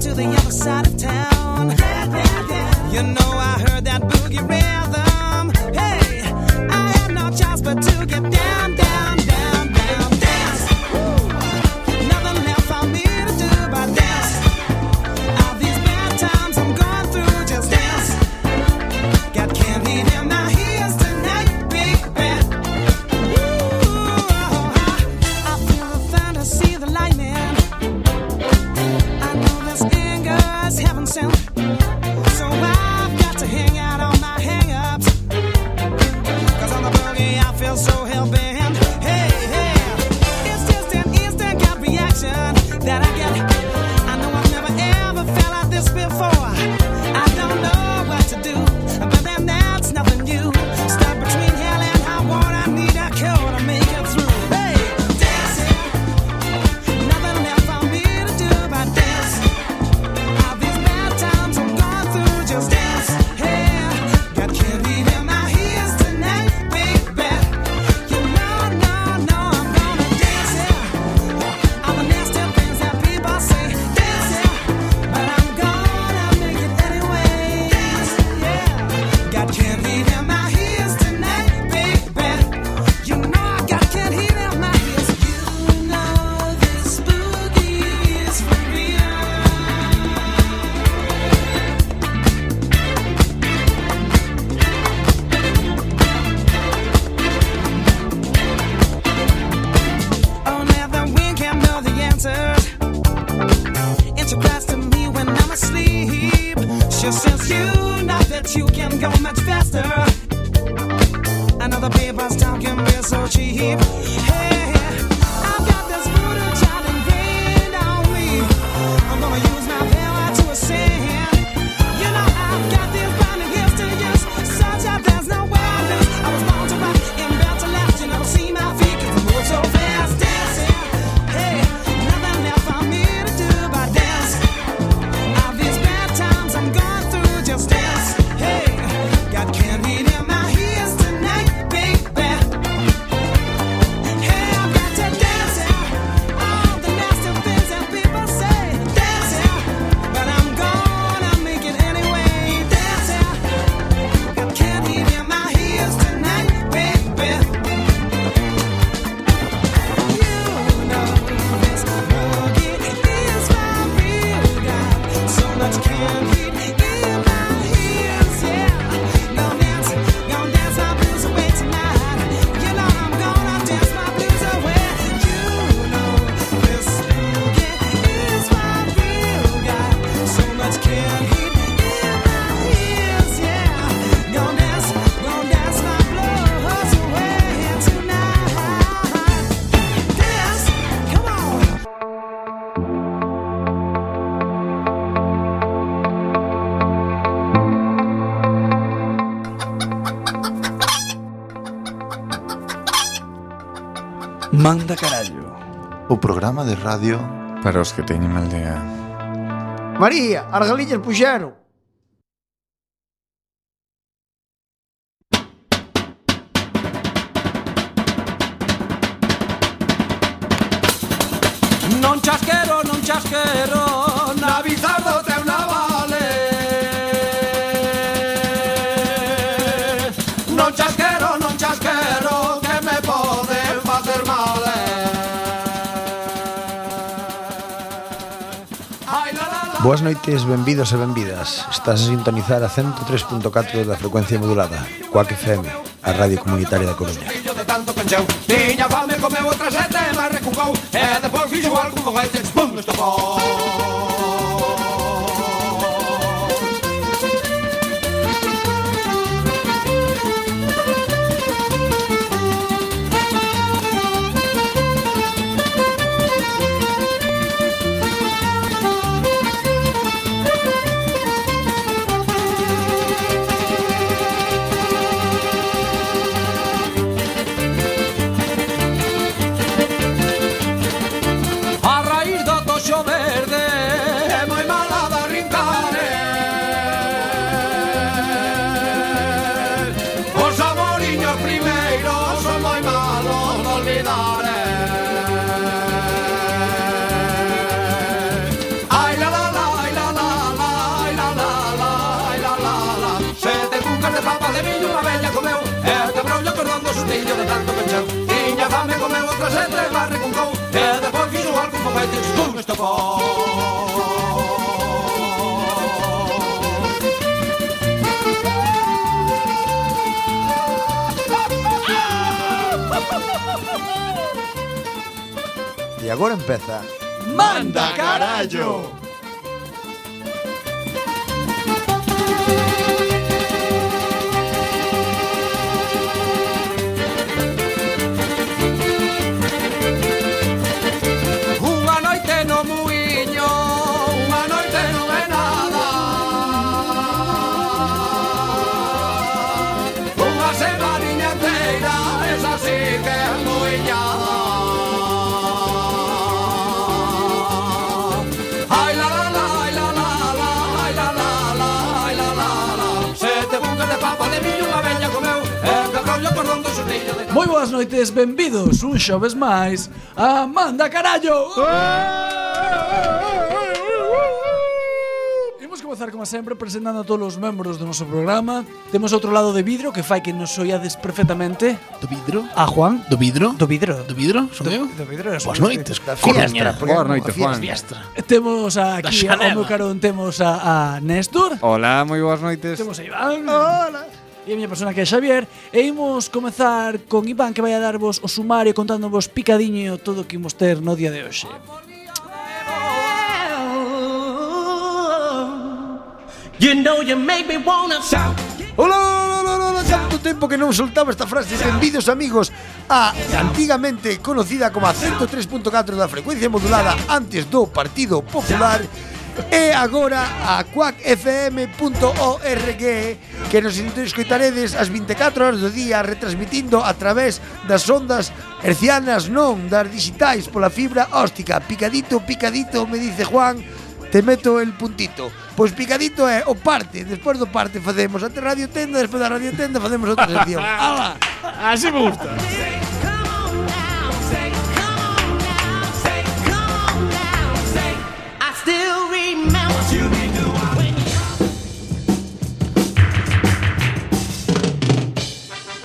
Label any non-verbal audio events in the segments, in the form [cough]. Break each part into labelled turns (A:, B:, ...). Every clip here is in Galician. A: side of town. You know I heard that boogie rhythm. Hey, I had no choice but to get down, down, down, down, dance. Nothing left for me to do but dance. All these bad times I'm going through, just dance. Got candy in my ears tonight, big bad. I feel the fantasy, the lightning. I know this anger's heaven sent. So I've got to hang out on my hang-ups. 'Cause on the boogie, I feel so hell-bent. Hey, hey, it's just an instant gut reaction that I get. I know I've never ever felt like this before. I don't know what to do, but then that's nothing new. Stuck between hell and high water, need a cure to make it through. Hey, dancing. Nothing left for me to do but dance. All these bad times I'm going through, just dance. Hey, got candy in my ears tonight, baby. You know, no, no, I'm gonna dance. Yeah. All the nasty things that people say, dance. Yeah. But I'm gonna make it anyway. Yeah. Got candy in my ears tonight, baby. You know I got candy in my ears. You know this boogie is for real. Oh, never we can know the answer. It's a surprise to me when I'm asleep. She says you know that you can go much faster. Another paper's talking real so cheap. Hey, I've got this voodoo child ingrained on me. I'm gonna use my power to ascend. You know I've got this blinding gifts to use. Such a there's no wellness. I was born to rock and bound to left. You never see my feet 'cause they move so fast. Dancing, hey, nothing left for me to do but dance. All these bad times I'm going through, just dance. Hey, got candy in my ears tonight, baby. Hey, I've got to dance yeah. All the nasty things that people say, dance yeah. But I'm gonna make it anyway, dance yeah. Got candy in my ears tonight, baby. You know this boogie is my real guy. So much candy in my ears, yeah. Gonna dance, gonna dance my blues away tonight. You know I'm gonna dance my blues away. You know this boogie is my real guy. So much candy in my ears, yeah. Gonna dance, gonna dance my blues away tonight. Dance, come on.
B: Manda carallo.
C: O programa de radio
D: Para os que teñen mal día.
E: María, as galiñas puxeron.
F: Non chasquero, non chasquero, na bizardo te una vale. Non chasquero, non chasquero, que me pode facer mal. eh. Ai, la, la, la.
E: Boas noites, benvidos e benvidas. Estás a sintonizar a 103.4 da frecuencia modulada, Coac FM, a radio comunitaria da Coruña.
F: Fillo de tanto pencheu Tiña fame, comeu outra sete, mas recucou E depois fixo algún foguete Pum, estopou A raíz do toxo verde eh. co sustillo de tanto penchar Tiña fame comeu outra sete mas recuncou E depois fixo algún foguete Pum, estopou
E: E agora empeza
B: ¡Manda carallo!
F: Unha noite no muiño Unha noite non é nada Unha semaninha inteira Esa sí que é muiñada Ai la la la, ai la la la Ai la la la, ai la la la Sete bucas de papa de miño unha veña comeu E que rollo por rondo xurrillo de
B: Moi boas noites, benvidos un xoves máis a Manda Carallo!
E: Eh!
B: Imos comezar, como sempre, presentando a todos os membros do noso programa. Temos outro lado de vidro que fai que nos oiades perfectamente.
G: Do vidro?
B: A Juan,
G: Do vidro?
B: do vidro.
G: Do vidro? Son eu?
B: do vidro.
G: Boas noites,
E: Da
G: coña.
E: fiestra, porque
D: Boa noite, Juan.
G: Fiestra.
B: Temos aquí
G: Da
B: ao
G: Xanela.
B: meu carón temos a, a Néstor.
D: Hola, moi boas noites.
B: Temos a Iván. Hola. E a miña persona que é Xavier E imos comezar con Iván que vai a darvos o sumario Contándovos picadiño todo o que imos ter no día de hoxe
H: You know you make me wanna shout.
E: Hola, hola, hola, hola, hola, tanto tempo que non soltaba esta frase Benvidos amigos a antigamente conocida como a 103.4 da frecuencia modulada antes do Partido Popular e agora a quackfm.org que nos escoitaredes as 24 horas do día retransmitindo a través das ondas hercianas non das digitais pola fibra óstica picadito, picadito, me dice Juan te meto el puntito. Pois picadito é o parte, despois do parte facemos ante radio tenda, despois da radio tenda facemos outra sección. Ala.
G: [laughs] Ah, Así me gusta.
H: I still remember you when you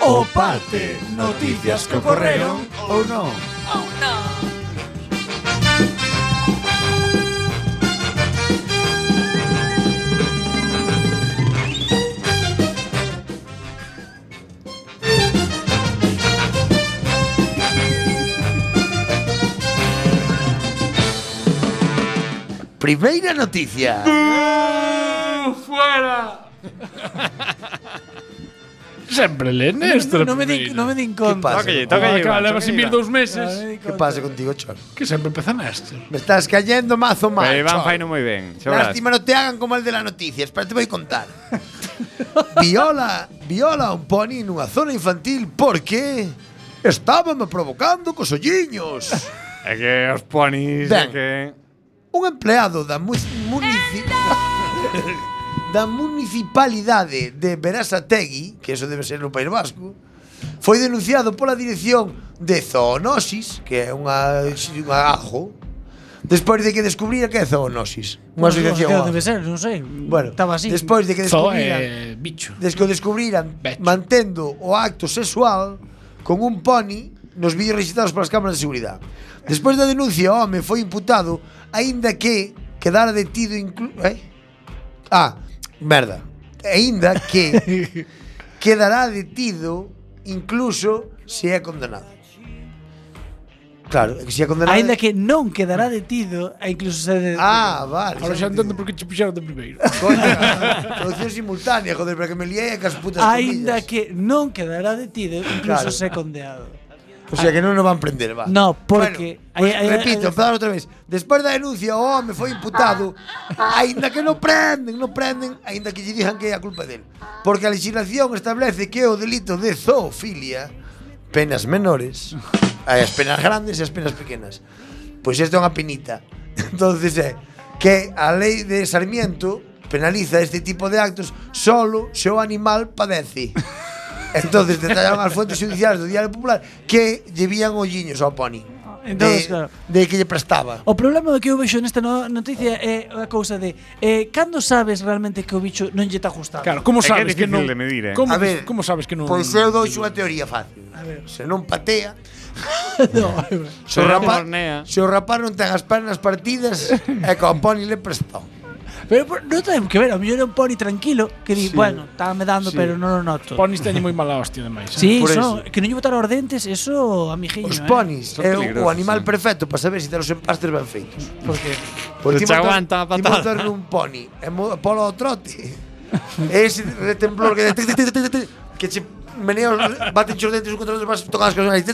E: O parte, noticias
B: [laughs]
E: que ocorreron ou non. Primeira noticia.
G: Sempre le Néstor.
B: Non me din, non me din conta
E: Que pasa?
G: Toca llevar, leva sin vir dous
B: Non me
G: meses.
B: din
E: Que
B: conta.
E: pasa contigo, Chor?
G: Que sempre empeza Néstor.
E: Me estás cayendo mazo
G: Pues
E: mal.
D: Pero Iván
E: Chor.
D: faino moi ben. xa verás.
E: Lástima no te hagan como el de la noticia, espera, te voy a contar. [laughs] viola, viola un pony nunha zona infantil porque estábame provocando cos olliños.
D: É que os ponis, é
E: Ben.
D: que...
E: Un empleado da mu- munici [laughs] da municipalidade de Berasategui, que eso debe ser no País Vasco, foi denunciado pola dirección de zoonosis, que é unha, unha ajo, despois de que descubrira que é zoonosis. Unha
B: Non sei,
E: asociación.
B: que
E: ao
B: debe
E: ajo.
B: ser, non sei
E: Bueno,
B: Estaba así
E: despois de que
G: Zo
E: descubriran
G: é bicho.
E: Desde que o descubriran
G: Becho.
E: mantendo o acto sexual con un pony nos vídeos registrados polas cámaras de seguridade. Despois da denuncia, o home foi imputado aínda que quedara detido inclu... Eh? Ah, merda. Aínda que quedará detido incluso se é condenado. Claro, é que se é condenado...
B: Ainda que non quedará detido E incluso se de,
E: Ah, vale.
G: Ahora xa entendo por que che puxeron de primeiro.
E: Coña, traducción simultánea, joder, para que me liei cas putas
B: Ainda
E: comillas.
B: que non quedará detido Incluso
E: Claro.
B: se condenado
E: O sea que non nos van prender, va.
B: No, porque-
E: Bueno, pues,
B: Ay, ay,
E: repito,
B: ay,
E: empezar outra vez. Despois da denuncia, o home foi imputado, aínda que non prenden, non prenden, aínda que lle dijan que é a culpa del. Porque a legislación establece que o delito de zoofilia, penas menores, hai as penas grandes e as penas pequenas. Pois isto é unha penita. [laughs] Entonces é que a lei de Sarmiento penaliza este tipo de actos solo se o animal padece. Entonces detallaron as fuentes judiciais do Diario Popular que llevían olliños ao pony.
B: Entonces,
E: de,
B: claro.
E: de que lle prestaba.
B: O problema do que eu vexo nesta no- noticia é a cousa de eh, cando sabes realmente que o bicho non lle está gustando?
G: Claro, como
D: É que é
G: sabes que,
D: difícil
G: non...
D: de medir, eh.
G: Como,
E: A ver, pues
G: como sabes que non...
E: Pois eu dou unha teoría fácil.
B: A ver.
E: Se non patea,
B: no,
E: se o,
D: Será
E: rapaz,
D: mornea.
E: se o rapaz non ten as pernas partidas, é que o Pony le prestou.
B: pero por- non ten que ver, a mellor é un pony tranquilo que di, bueno, está me dando,
G: Sí.
B: pero non o noto.
G: Ponis teñen moi mala hostia demais. eh.
B: [laughs] Sí,
E: Por
B: son, que non lle botaron os dentes, eso, amigiño, eh.
E: Os ponis
D: Son
E: é o
D: peligrosos, sí.
E: animal perfecto para saber se ten os empastres ben feitos.
B: Porque
D: Se
E: Porque ti
D: Pois
E: montas-
D: aguanta a
E: ti
D: patada.
E: montas nun pony e mo- polo ao trote. E ese retemblor que tic, tic, tic, tic, tic, tic, que che menea os baten os dentes un contra os outros, vas tocando as canciones.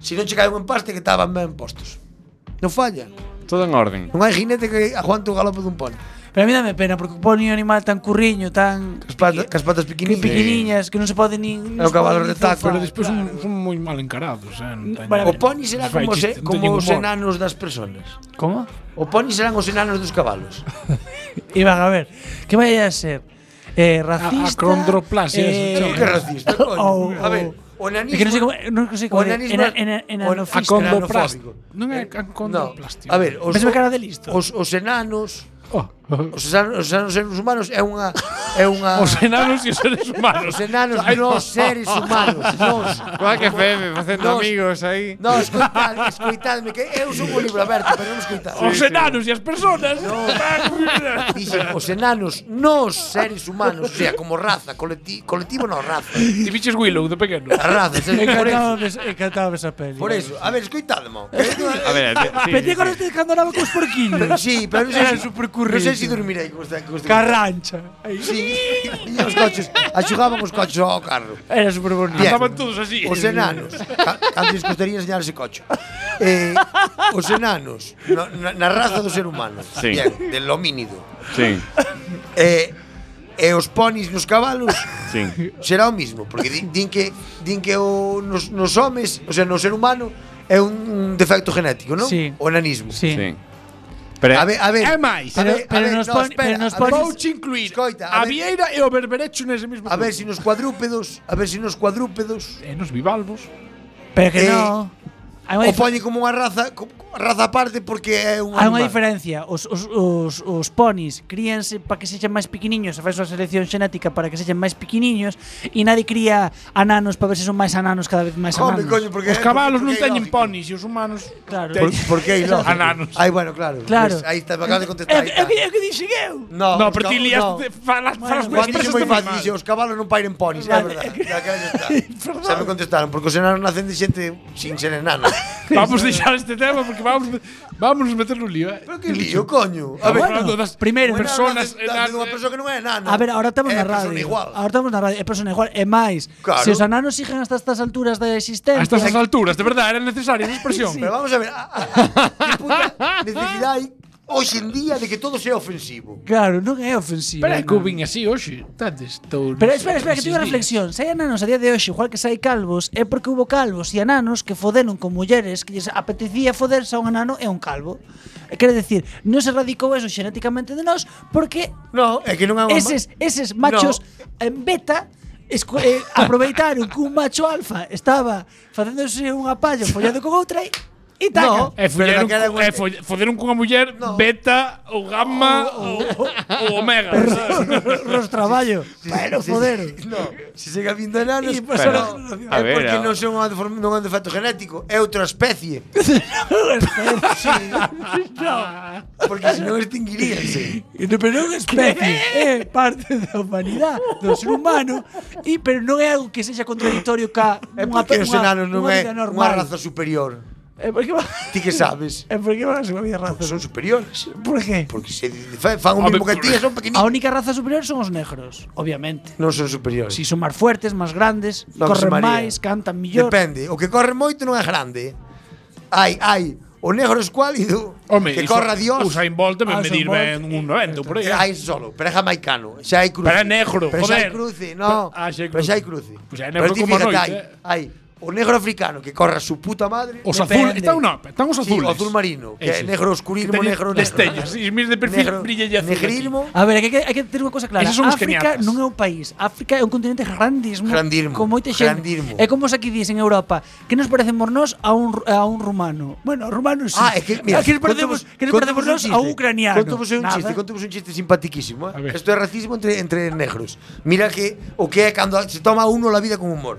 E: Se non che cae un empaste que estaban ben postos. Non falla.
D: Todo en orden.
E: Non hai jinete que aguante o galope dun pony.
B: Pero a mí dame pena porque o pony é un animal tan curriño, tan
E: Cas patas, cas patas
B: que
E: pequeniñas.
B: pequeniñas, que non se pode nin
E: É o cabalo de taco,
G: Pero despois son, son moi mal encarados, eh. non teñen-
B: Vale,
E: O pony será
G: Fai
E: como, se,
G: chiste, non teñen
E: como os
G: humor.
E: enanos das personas.
B: Como?
E: O pony serán os enanos dos cabalos.
B: Iván, a ver, que vaya a ser? Eh, racista.
G: acrondroplasia, eso,
E: Pero que
B: [laughs] eh,
E: racista,
B: ou-
E: coño. A ver,
B: ou-
E: o
B: É que non sei como,
E: enanismo...
B: non sei como.
E: o enanismo
B: Ena,
E: é-
B: ena,
E: o-
B: enanofista.
G: Acondroplástico.
E: Acondroplástico.
G: Non é
E: No,
G: acondroplástico.
E: a ver, os,
B: Ves a cara de listo.
E: os, os enanos,
G: Oh,
E: os enanos, os enanos seres humanos é unha é unha
G: [laughs] Os enanos e os seres humanos.
E: os enanos non seres humanos, nós.
D: Cuac FM, facendo
E: Nos-
D: amigos aí.
E: No, escoitad, escoitadme que eu son un libro aberto, pero non escoitad.
G: Os enanos e as personas.
E: Dixen, os enanos, nos seres humanos, o sea, como raza, colectivo, colectivo non raza.
G: Ti biches Willow de pequeno.
E: A raza, seres, por eso.
B: Encantado de encantado de esa peli.
E: Por eso, a ver, escoitadmo. que eu-
D: A ver, sí, sí,
B: Petí con
D: sí.
B: este candorado cos
E: Pero
B: porquiños.
E: sí, pero non sei
B: Era
E: si,
B: supercurrido.
E: non sei si dormirei con esta, con esta
B: Carrancha.
E: Sí, tiña os coches, axugaban os coches ao carro.
B: Era super bonito.
E: Bien.
G: Estaban todos así.
E: Os enanos. Ca- Cando lles costaría enseñar ese coche. Eh, os enanos, no, na, na raza do ser humano.
D: Sí.
E: Bien, del homínido.
D: Sí,
E: Eh, e os ponis nos cabalos
D: sí.
E: será o mismo, porque din, din que din que o nos, nos homes, o sea, no ser humano é un, un defecto genético, non?
B: Sí.
E: O enanismo.
B: Sí.
D: Sí. Pero
E: A ver, a ver.
G: É máis.
E: a ver,
B: Pero- pero
E: a ver,
B: nos
E: no,
B: pon-
E: espera,
B: pero nos
E: a ver,
B: ponis-
G: Vouche incluir
E: Escoita,
G: a,
E: a ver-
G: Vieira e o Berberecho nese mesmo
E: A ver si nos cuadrúpedos, a ver si nos cuadrúpedos
G: E nos bivalvos.
B: Pero que
E: Eh,
B: no. Hai unha
E: o
B: dif-
E: poñen como unha raza, co- raza aparte porque é un
B: Hai unha
E: animal.
B: diferencia, os, os, os, os ponis críanse para que sexan máis pequeniños, se faz unha selección xenética para que sexan máis pequeniños e nadie cría ananos para ver se son máis ananos cada vez máis
E: Home,
B: ananos.
E: coño, porque
G: Os
E: é-
G: cabalos non
E: porque é
G: teñen
E: ilógico.
G: ponis e os humanos
B: Claro.
E: Por, porque
G: [laughs]
E: é ilógico.
G: Ananos.
E: Ai, bueno, claro.
B: Claro.
E: Pois aí está, me acabas de contestar. aí
B: É o que, é
E: está.
B: o que dixen eu.
E: No,
G: No,
E: os
G: pero ti
E: cab-
G: lías
E: no.
G: de- falas falas coas
B: Bueno, Expresas
E: Cuando
G: persoas
E: dixo moi
G: moi
E: fácil,
G: mal.
E: dixo, os cabalos non pairen ponis, é
B: Vale.
E: verdade. Ya, que ya está. Xa me contestaron, porque os enanos nacen de xente sin ser enano.
G: Vamos deixar este tema porque vamos vamos nos meter no lío. eh. Ah,
E: Pero que lío, coño. A ver,
G: Falando das
B: primeiro,
E: un enano
G: personas
E: nace- nace
G: enanas-
E: dunha persoa que non é enano.
B: A ver, ahora estamos
E: É
B: na
E: persona
B: radio.
E: igual.
B: Ahora estamos na radio, é persona igual, é máis.
E: Claro.
B: Se os ananos sigan hasta estas alturas
G: A
B: da existencia,
G: estas as alturas, de verdade, era necesaria esa expresión.
E: Pero vamos a ver, a, a, a, que puta necesidade hai hoxe en día de que todo sea ofensivo.
B: claro, non é ofensivo.
G: Espera, que eu
B: non.
G: vin así hoxe. Tantes, estou...
B: Pero espera, espera, que
G: estes
B: tive unha
G: días.
B: reflexión. Se hai ananos a día de hoxe, igual que se hai calvos, é porque hubo calvos e ananos que foderon con mulleres que lles apetecía foderse a un anano e a un calvo. E Quere decir, non se radicou eso xenéticamente de nós porque
E: No, é que non é unha
B: eses, eses machos en beta esco- eh, aproveitaron que un macho alfa estaba facéndose unha palla follando con outra e, e taca.
E: No.
G: E folleron,
E: Pero daquela
G: cu- e
E: é
G: foll- foderon cunha muller
E: No.
G: beta ou gamma ou, ou omega. sabes?
E: [laughs]
B: Ros traballo. Pero
E: Sí,
B: foderon.
E: sí, No, se siga vindo enanos,
B: E pasou
D: Pero,
B: a generación.
D: a
E: é
D: ver,
E: porque
D: a-
E: non son unha deform- non é un defecto genético, é
B: [laughs]
E: outra especie. sí,
B: No.
E: porque senón extinguiríanse.
B: No, pero non é especie, é parte da humanidade, do ser humano, e pero non é algo que sexa contradictorio ca
E: É porque os enanos non é
B: vida
E: unha
B: normal.
E: raza superior.
B: É porque va-
E: Ti que sabes?
B: É porque van a ser unha vida raza.
E: Son superiores.
B: Por que?
E: Porque se fa- fan o
G: Home,
E: mismo que ti, e son
B: A
E: pequeninos.
B: única raza superior son os negros, obviamente.
E: Non son superiores.
B: Si son máis fuertes, máis grandes,
E: Non se
B: corren
E: marea.
B: máis, cantan mellor.
E: Depende. O que corre moito non é grande. Ai, ai, o negro escuálido
G: Home,
E: que corra Dios.
G: Usain Bolt debe
B: Ah, Usain
G: medir
B: Bolt.
G: ben un 90 por aí.
E: Eh, Hai solo, pero é jamaicano. Xa hai cruce.
G: Pero é negro,
E: Pero xa
G: joder.
E: hai cruce, no.
G: Ah, xa hai
E: Pero xa hai
G: cruce.
E: cruce.
G: Pois é negro
E: ti
G: como a
E: fíjate,
G: noite,
E: hai,
G: eh.
E: hai o negro africano que corre a su puta madre.
G: Os azul,
B: Depende.
G: está una, están os
E: Sí,
G: azules.
E: o azul marino, que
G: Ese.
E: é negro oscurismo,
G: Que teñen
E: negro, negro.
G: Destellos, e mires de perfil,
E: Negro-
G: brilla e azul.
E: Negrismo,
B: A ver, hai que, hai que ter unha cosa clara.
G: Esos son os
B: África
G: keniatas.
B: non é un país. África é un continente grandismo.
E: Grandismo,
B: Con moita xente.
E: grandismo.
B: É como se aquí dís en Europa. Que nos parecemos nós a un, ru- a un rumano? Bueno, a rumanos sí.
E: Ah, é que, mira,
B: que nos parecemos,
E: contamos-
B: que nos parecemos
E: contamos un
B: nós a un
E: chiste,
B: ucraniano.
E: Contamos un
B: Nada.
E: chiste, contamos un chiste simpaticísimo.
G: A
E: Eh?
G: ver.
E: Esto é racismo entre, entre negros. Mira que o que é cando se toma uno la vida
G: [laughs]
E: con humor.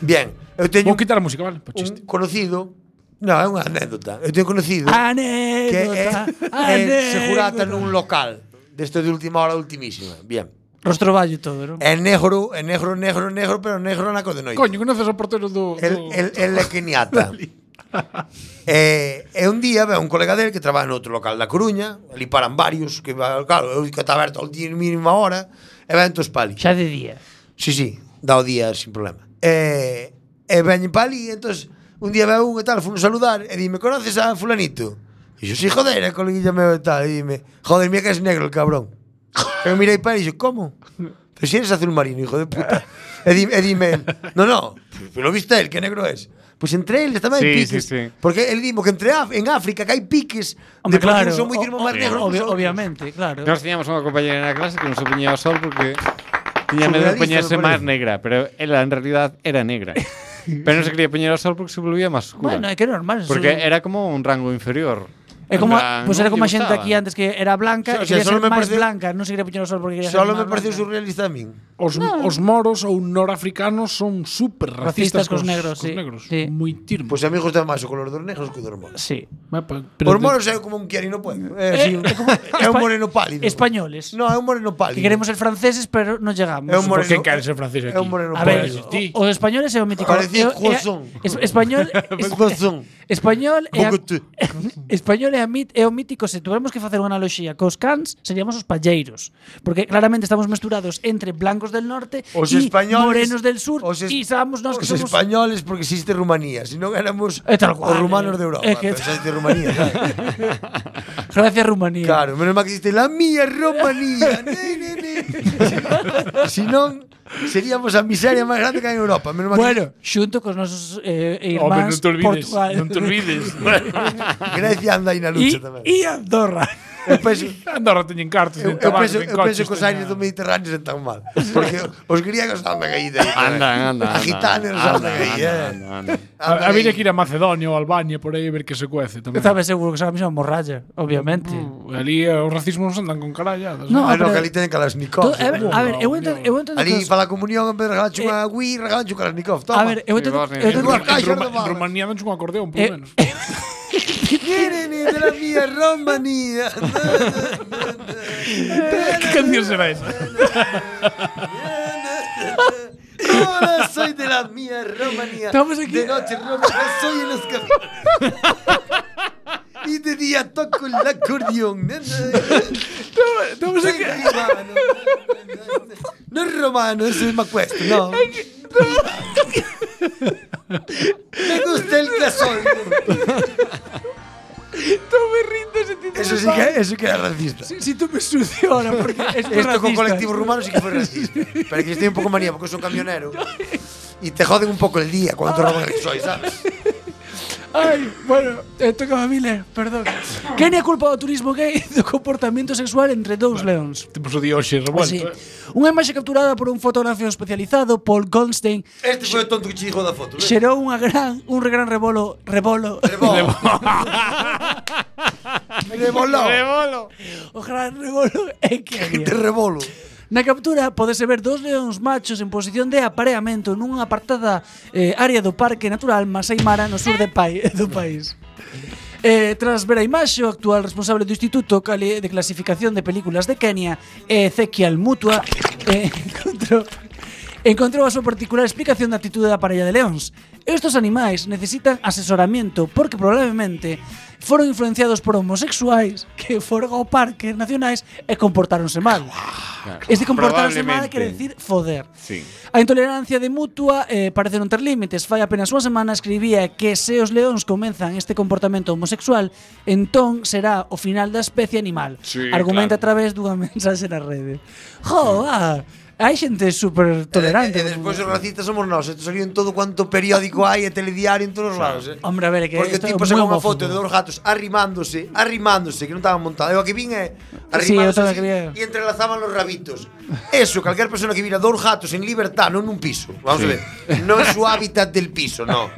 E: Bien, eu teño
G: Vou
E: un,
G: quitar a música, vale? Po
E: un
G: chiste.
E: conocido, non, é unha anécdota. Eu teño un conocido que eh, é,
B: Anécdota.
E: é
B: anécdota.
E: segurata nun local desto de última hora ultimísima. Bien.
B: Rostroballo todo, non?
E: É negro, é negro, negro, negro, pero negro na cor de noite.
G: Coño, conoces ao portero do...
E: El,
G: do-
E: el, el é
G: [laughs]
E: keniata. eh, e un día veo un colega del que trabaja en outro local da Coruña, ali paran varios, que va- claro, eu que está aberto ao día mínima hora, e ven tos pali.
B: Xa de día.
E: Sí, sí, dá o día sin problema. E, e veñen pali, e entón, un día veo un e tal, fun saludar, e dime, conoces a fulanito? E yo, sí, joder, e coleguilla meu e tal, e dime, joder, mira que es negro el cabrón. [laughs] E eu mirei para e dixo, como? Pero si eres azul marino, hijo de puta. E dime, e dime el, no, no, pero viste el, que negro es. Pois pues entre eles tamén hai
D: Sí,
E: piques.
D: sí, sí.
E: Porque el dimo que entre Af en África que hai piques
B: Hombre,
E: de porque
B: claro.
E: uns son moi
B: o-
E: tirmos máis
B: o-
E: negros. que os
B: obvio-
E: outros.
B: obviamente, claro.
D: Nós tiñamos unha compañera na clase que nos opoñía ao sol porque tiña
E: Surrealista,
D: medo de
E: me
D: poñerse
E: parece.
D: máis negra, pero ela en realidad era
B: [laughs]
D: negra. pero non se quería poñer ao sol porque se volvía máis oscura.
B: Bueno, é que é normal.
D: porque
B: eso-
D: era como un rango inferior.
B: É
D: En
B: como,
D: plan,
B: pois
D: non
B: era
D: lle
B: como a xente
D: gustaba.
B: aquí antes que era blanca, e
E: O
B: quería
E: sea, solo
B: ser
E: me
B: máis
E: parece-
B: blanca, non se quería poñer o sol porque quería ser
E: Solo
B: máis
E: me pareceu
B: blanca.
E: surrealista a min.
G: Os, os moros ou norafricanos son super
B: Racistas
G: racistas,
B: cos
G: cos,
B: negros,
G: cos
B: sí,
G: negros.
B: sí.
G: Moi tirmos.
E: Pois a mí gusta máis o color dos negros que o dos moros.
B: Sí.
G: pero
E: Os moros é como un quiarino poño. É, así, un- [laughs] é un
B: Eh, Espa-
E: moreno pálido.
B: Españoles.
E: No, é un moreno
B: Que
E: pálido.
B: queremos ser franceses, pero non chegamos.
E: É un
G: Por
E: moreno.
G: que queres ser francés
E: É
G: aquí?
E: un moreno
B: A ver,
E: pálido.
G: Sí.
B: o, os españoles é o mítico. é
E: Parecía
B: o- é-
E: croissant.
B: es-
E: [laughs]
B: español es-
E: Croissant.
B: Español é a,
E: Bocotú.
B: [laughs] español é, a mit, é o mítico se tuvermos que facer unha analogía cos cans seríamos os palleiros porque claramente estamos mesturados entre blancos del norte
E: Os
B: e
E: españoles-
B: morenos del sur
E: os es-
B: e sabemos nós
E: Os
B: que somos
E: españoles porque existe Rumanía, se non éramos
B: É tal cual,
E: os
B: eh.
E: rumanos de Europa,
B: É que-
E: pero existe Rumanía.
B: [laughs] Gracias Rumanía
E: claro, menos mal que existe la
B: [laughs]
E: mía Rumanía. ne, ne, ne. Si non seríamos a miseria máis grande que hai en Europa, menos mal
B: Bueno, xunto cos nosos eh,
G: Hombre,
B: irmáns
G: non te olvides.
B: Portugal
G: Non te
B: [laughs]
G: olvides.
E: que Grecia anda aí
B: e,
E: na lucha tamén.
B: e Andorra
E: Eu penso,
G: Andorra teñen cartos, teñen
E: eu, eu
G: tabaco,
E: penso,
G: teñen
E: eu
G: coches.
E: penso que os aires do Mediterráneo están tan mal, porque os griegos andan aí de aí.
D: Andan, andan.
E: A gitanos andan aí, eh.
G: A-
E: Andan aí.
G: Había que ir Ah, a Macedonia ou Albania por aí a ver que se cuece tamén.
B: Estaba seguro que será a mesma morralla Obviamente
G: Ali eh, os racismos andan con caralladas.
B: No,
E: Ah, no,
B: pero-
E: que ali teñen
B: Todo-
E: Kalashnikov.
B: a ver, a ver, eu entendo, eu entendo que
E: Ali
B: os-
E: para a comunión en vez de regalar unha Wii, regalan un Kalashnikov. Toma.
B: A ver, eu entendo,
D: Bosnia.
B: eu entendo,
G: En,
E: Igual. Caixas
G: Ruma, en
E: de balas.
G: Rumanía dan un acordeón, por
B: Eh,
G: menos. [laughs]
E: Tienen de la mía Romanía.
B: [laughs]
G: que canción será
E: [laughs]
G: esa?
E: Ahora soy de la mía Romanía.
B: Estamos aquí.
E: De noche Romanía soy en los caminos. Y de día toco el acordeón.
B: estamos
E: Soy
B: aquí,
E: romano. No es romano, eso es Macuesto, no. Me gusta el casón.
B: estamos rindo se ti
E: Eso sí que, eso que era racista.
B: si, si tú me sucio ahora porque es
E: Esto con
B: racista.
E: colectivos rumanos sí que fue
I: [laughs]
E: racista. Pero aquí estoy un poco manía porque son camioneros. Y te joden un poco el día cuando te roban el soy, ¿sabes?
B: Ay, bueno, eh, toca a Miller, perdón. que é a culpa do turismo gay do comportamento sexual entre dous leóns?
G: Temos o de hoxe
B: Así,
G: revuelto. eh.
B: unha imaxe capturada por un fotógrafo especializado, Paul Goldstein,
E: Este fue el tonto que chico da foto. ¿eh?
B: xerou unha gran, un gran rebolo, rebolo, [laughs]
E: Rebolo. Reboló.
B: o gran rebolo é que
E: Que
B: había.
E: te rebolo.
B: Na captura podese ver dos leóns machos en posición de apareamento nunha apartada eh, área do Parque Natural Masai Mara no sur de pai, [laughs] do país. Eh, tras ver a imaxe, o actual responsable do Instituto Cali- de Clasificación de Películas de Kenia, Ezequiel Mutua, eh, [laughs] encontrou, encontrou a súa particular explicación da actitude da parella de leóns. Estos animais necesitan asesoramiento porque probablemente foron influenciados por homosexuais que foron ao parque nacionais e comportáronse mal. Este comportarse mal quer decir foder.
D: Sí.
B: A intolerancia de mutua eh, parece non ter límites. Fai apenas unha semana escribía que se os leóns comenzan este comportamento homosexual, entón será o final da especie animal.
G: Sí,
B: Argumenta
G: claro.
B: a través dunha mensaxe na rede. Jo, ah, Hai xente super tolerante.
E: E, e Eh, despois os racistas somos nós. Isto saliu en todo cuanto periódico hai e telediario en todos os lados. Eh?
B: Hombre, a ver, é que
E: Porque o
B: isto é moi
E: tipo sacou unha
B: homófobo.
E: foto de dos gatos arrimándose, arrimándose, que non estaban montados. Eu a que vin é
B: eu
E: arrimándose
B: tamén
E: así,
B: quería.
E: e entrelazaban los rabitos. Eso, calquer persona que vira dos gatos en libertad, non nun piso. Vamos sí. a ver. Non é su hábitat del piso, no.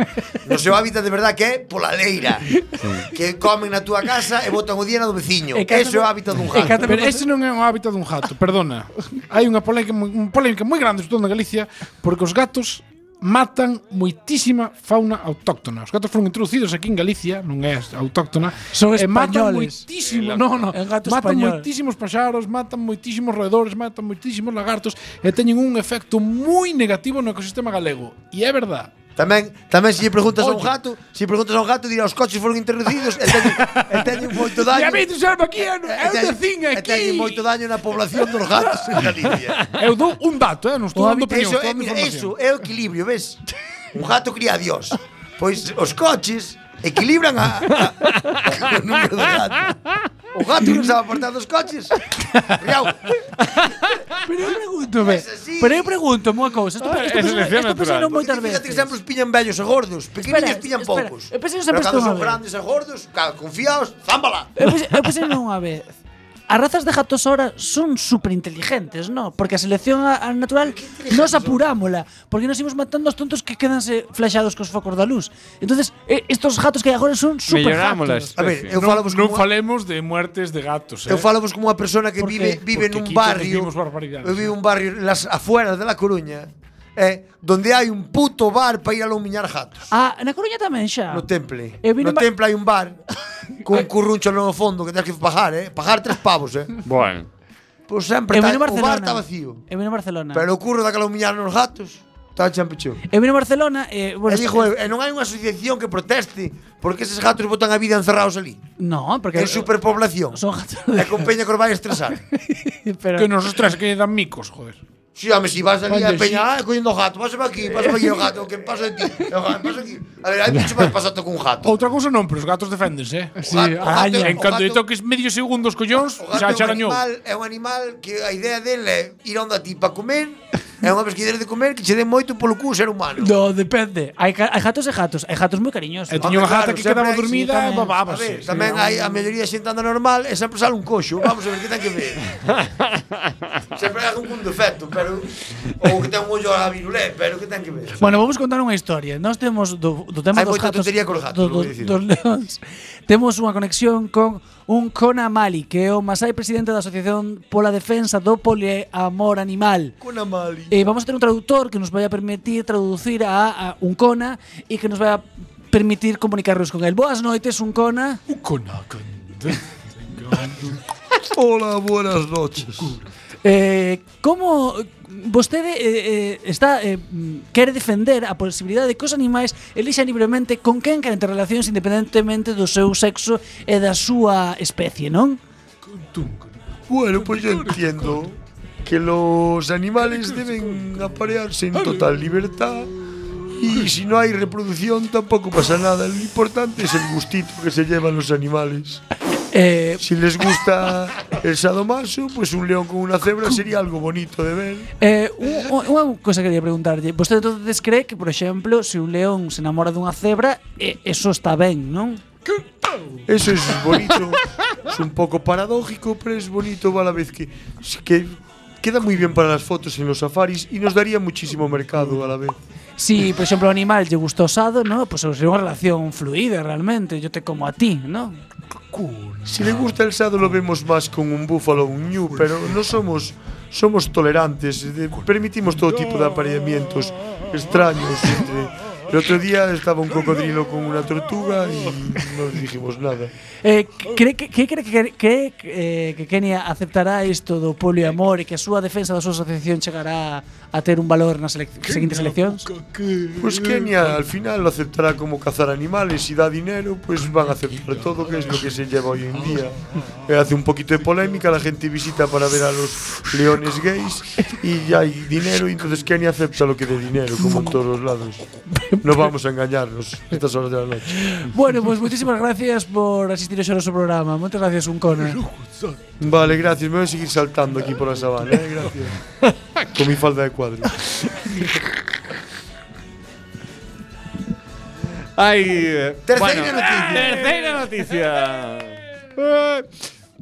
E: No seu hábitat de verdad que é pola leira. Sí. Que comen na túa casa e botan o diana do veciño.
B: E que
E: Eso é o
B: atame-
E: hábitat dun
B: e que
E: gato.
B: atame-
G: Pero ese non é un hábito dun gato, perdona. Hai unha polémica, un polémica moi grande sobre todo na Galicia porque os gatos matan moitísima fauna autóctona. Os gatos foron introducidos aquí en Galicia, non é autóctona,
B: Son
G: e matan
B: españoles. Eh,
G: moitísimo, no, no,
B: É un gato
G: matan
B: español.
G: moitísimos paxaros, matan moitísimos roedores, matan moitísimos lagartos e teñen un efecto moi negativo no ecosistema galego. E é verdad.
E: Tamén, tamén se lle preguntas a un
G: Oye.
E: gato, se lle preguntas a un gato dirá os coches foron introducidos e teñen, e teñen
G: [laughs] E
E: moito
G: a
E: daño.
G: mí, tu sabes, aquí, é
E: E
G: un
E: teñen-
G: vecín
E: E
G: aquí.
E: teñen moito daño na población dos gatos en Galicia.
G: [laughs] Eu dou un dato, eh, non estou
B: O
G: dando
B: hábito-
G: opinión,
E: Eso
G: estou
E: é,
G: dando
E: mira,
G: información.
E: eso é o equilibrio, ves? Un gato cría a Dios. Pois os coches equilibran a, a, [laughs] o número de gato. O gato non sabe apartar dos coches. Riau.
B: Pero eu pregúntome,
E: Es así.
B: pero eu pregunto unha cousa, isto,
D: Ah,
B: isto,
D: é
B: pensaron-
D: selección
B: isto pensaron
D: natural.
B: moitas
E: Porque
B: veces.
E: Fíjate que sempre os piñan vellos e gordos. Pequeniños
B: Espera,
E: piñan
B: espera.
E: poucos.
B: Eu pensei que
E: Pero
B: sempre
E: cando
B: estou
E: son
B: mal.
E: grandes e gordos, ca- confiaos, zámbala.
B: Eu pensei- Eu pensei eh, pues unha vez. As razas de gatos ahora son super inteligentes, no? Porque a selección a- a natural nos apurámola, porque nos imos matando aos tontos que quedanse flashados cos focos da luz. Entonces, eh, estos gatos que hai agora son super
D: Mellorámola.
B: gatos.
E: A ver, eu
G: non,
E: falo vos
G: non
E: como
G: falemos de muertes de gatos, eh.
E: Eu falo vos como unha persona que
B: Por qué?
E: vive vive
G: Porque
E: nun
G: aquí
E: barrio.
G: decimos barbaridades.
E: Eu vivo un barrio en las afueras de La Coruña, eh, donde hai un puto bar para ir a lumiñar gatos.
B: Ah, na Coruña tamén xa.
E: No temple.
B: Eu vi
E: No
B: nun ba-
E: temple hai un
B: [laughs]
E: bar con un curruncho no fondo que tens que pagar, eh? Pagar tres pavos, eh?
D: Bueno.
E: Pois sempre
B: Eu
E: tá,
B: vino
E: o
B: Barcelona.
E: bar está vacío.
B: Eu vino Barcelona.
E: Pero o curro da que lumiñar nos gatos está champichón.
B: Eu vino Barcelona e, bueno,
E: e dixo, e non hai unha asociación que proteste porque eses gatos botan a vida encerrados ali.
B: No, porque
E: En superpoblación.
B: son gatos
E: E
B: de...
E: con peña que os
B: [laughs]
E: vai estresar.
B: pero
G: Que nos ostras que dan micos, joder.
E: Si, home, si vas ali a
G: Oye,
E: peña, ah, collendo o gato, pásame aquí, pásame aquí o gato, que paso de ti, o gato, paso aquí. A ver, hai bicho máis pasato que un gato.
G: Outra cousa non, pero os gatos deféndense. eh.
E: Sí, gato- o gato-
G: en
E: o
G: canto lle
E: gato-
G: toques medio segundo os collóns,
E: O
G: xa
E: gato é un
G: charañou.
E: animal, é un animal que a idea dele é ir onda ti para comer, é unha vez que deres de comer que che den moito polo cu ser humano.
B: No, depende. Hai, ca- hai gatos e gatos, hai gatos moi cariñosos.
G: E tiña unha gata
E: Hombre, Ah, claro,
G: que
E: sempre
G: quedaba
E: hai-
B: sí,
G: dormida e
B: tamén.
E: A ver,
G: babábase.
E: tamén hai a maioría xente anda normal e sempre sale un coxo. Vamos a ver que ten que
G: [laughs]
E: ver. sempre hai algún defecto, pero ou que ten un ollo a virulé, pero que ten que ver.
B: Bueno, vamos contar unha historia. Nós temos do, do tema
E: Hai
B: dos
E: moita
B: gatos,
E: tontería cos gatos,
B: do-
E: vou
B: do-
E: dicir.
B: dos leóns. [laughs] Temos unha conexión con un Kona Mali, que é o masai presidente da Asociación pola Defensa do Poliamor Animal.
E: Cuna mali.
B: Eh, vamos a ter un traductor que nos vai a permitir traducir a, a un Kona e que nos vai a permitir comunicarnos con el. Boas noites, un Kona.
E: Hola, buenas noches.
B: Eh, como vostede eh, eh, está eh, mm, quere defender a posibilidade de que os animais elixan libremente con quen queren ter relacións independentemente do seu sexo e da súa especie, non?
E: Bueno, pues yo entiendo que los animales deben aparearse en total libertad y si no hay reproducción tampoco pasa nada. Lo importante es el gustito que se llevan los animales.
B: Eh,
E: Si les gusta el sadomaso, pues un león con una cebra sería algo bonito de ver.
B: eh, un- un- unha cousa que quería preguntarlle. Vostede entonces cree que, por exemplo, se un león se namora dunha cebra, eh, eso está ben, non?
E: Eso Pues es bonito. Es un poco paradójico, pero es bonito a la vez que, que queda muy bien para las fotos en los safaris y nos daría muchísimo mercado a la vez.
B: Si, por exemplo, o animal lle gusta osado, non? Pois pues, sería unha relación fluida realmente, yo te como a ti, non?
E: Si le gusta el sado lo vemos más con un búfalo o un ñu, pero no somos somos tolerantes, eh, de- permitimos todo tipo de apareamientos extraños. entre- el otro día estaba un cocodrilo con una tortuga y no dijimos nada.
B: Eh, cree que, que, cree que, cree que, eh, que Kenia aceptará isto do poliamor e que a súa defensa da súa asociación chegará a ter un valor nas elec seguintes eleccións?
E: Pues Kenia al final lo aceptará como cazar animales, si da dinero pues van a aceptar todo, que es lo que se lleva hoy en día. Eh, Hace un poquito de polémica, la gente visita para ver a los leones gays y ya hay dinero y entonces Kenia acepta lo que dé dinero, como en todos los lados. No vamos a engañarnos a estas horas de la noche.
B: bueno, pois pues, moitísimas gracias por asistir hoxe ao noso programa. Moitas gracias, un cona.
E: Vale, gracias, me voy a seguir saltando aquí por la sabana. eh, gracias. Con mi falda de cuadro.
D: Ai, eh,
E: Terceira noticia.
D: Terceira noticia. Eh,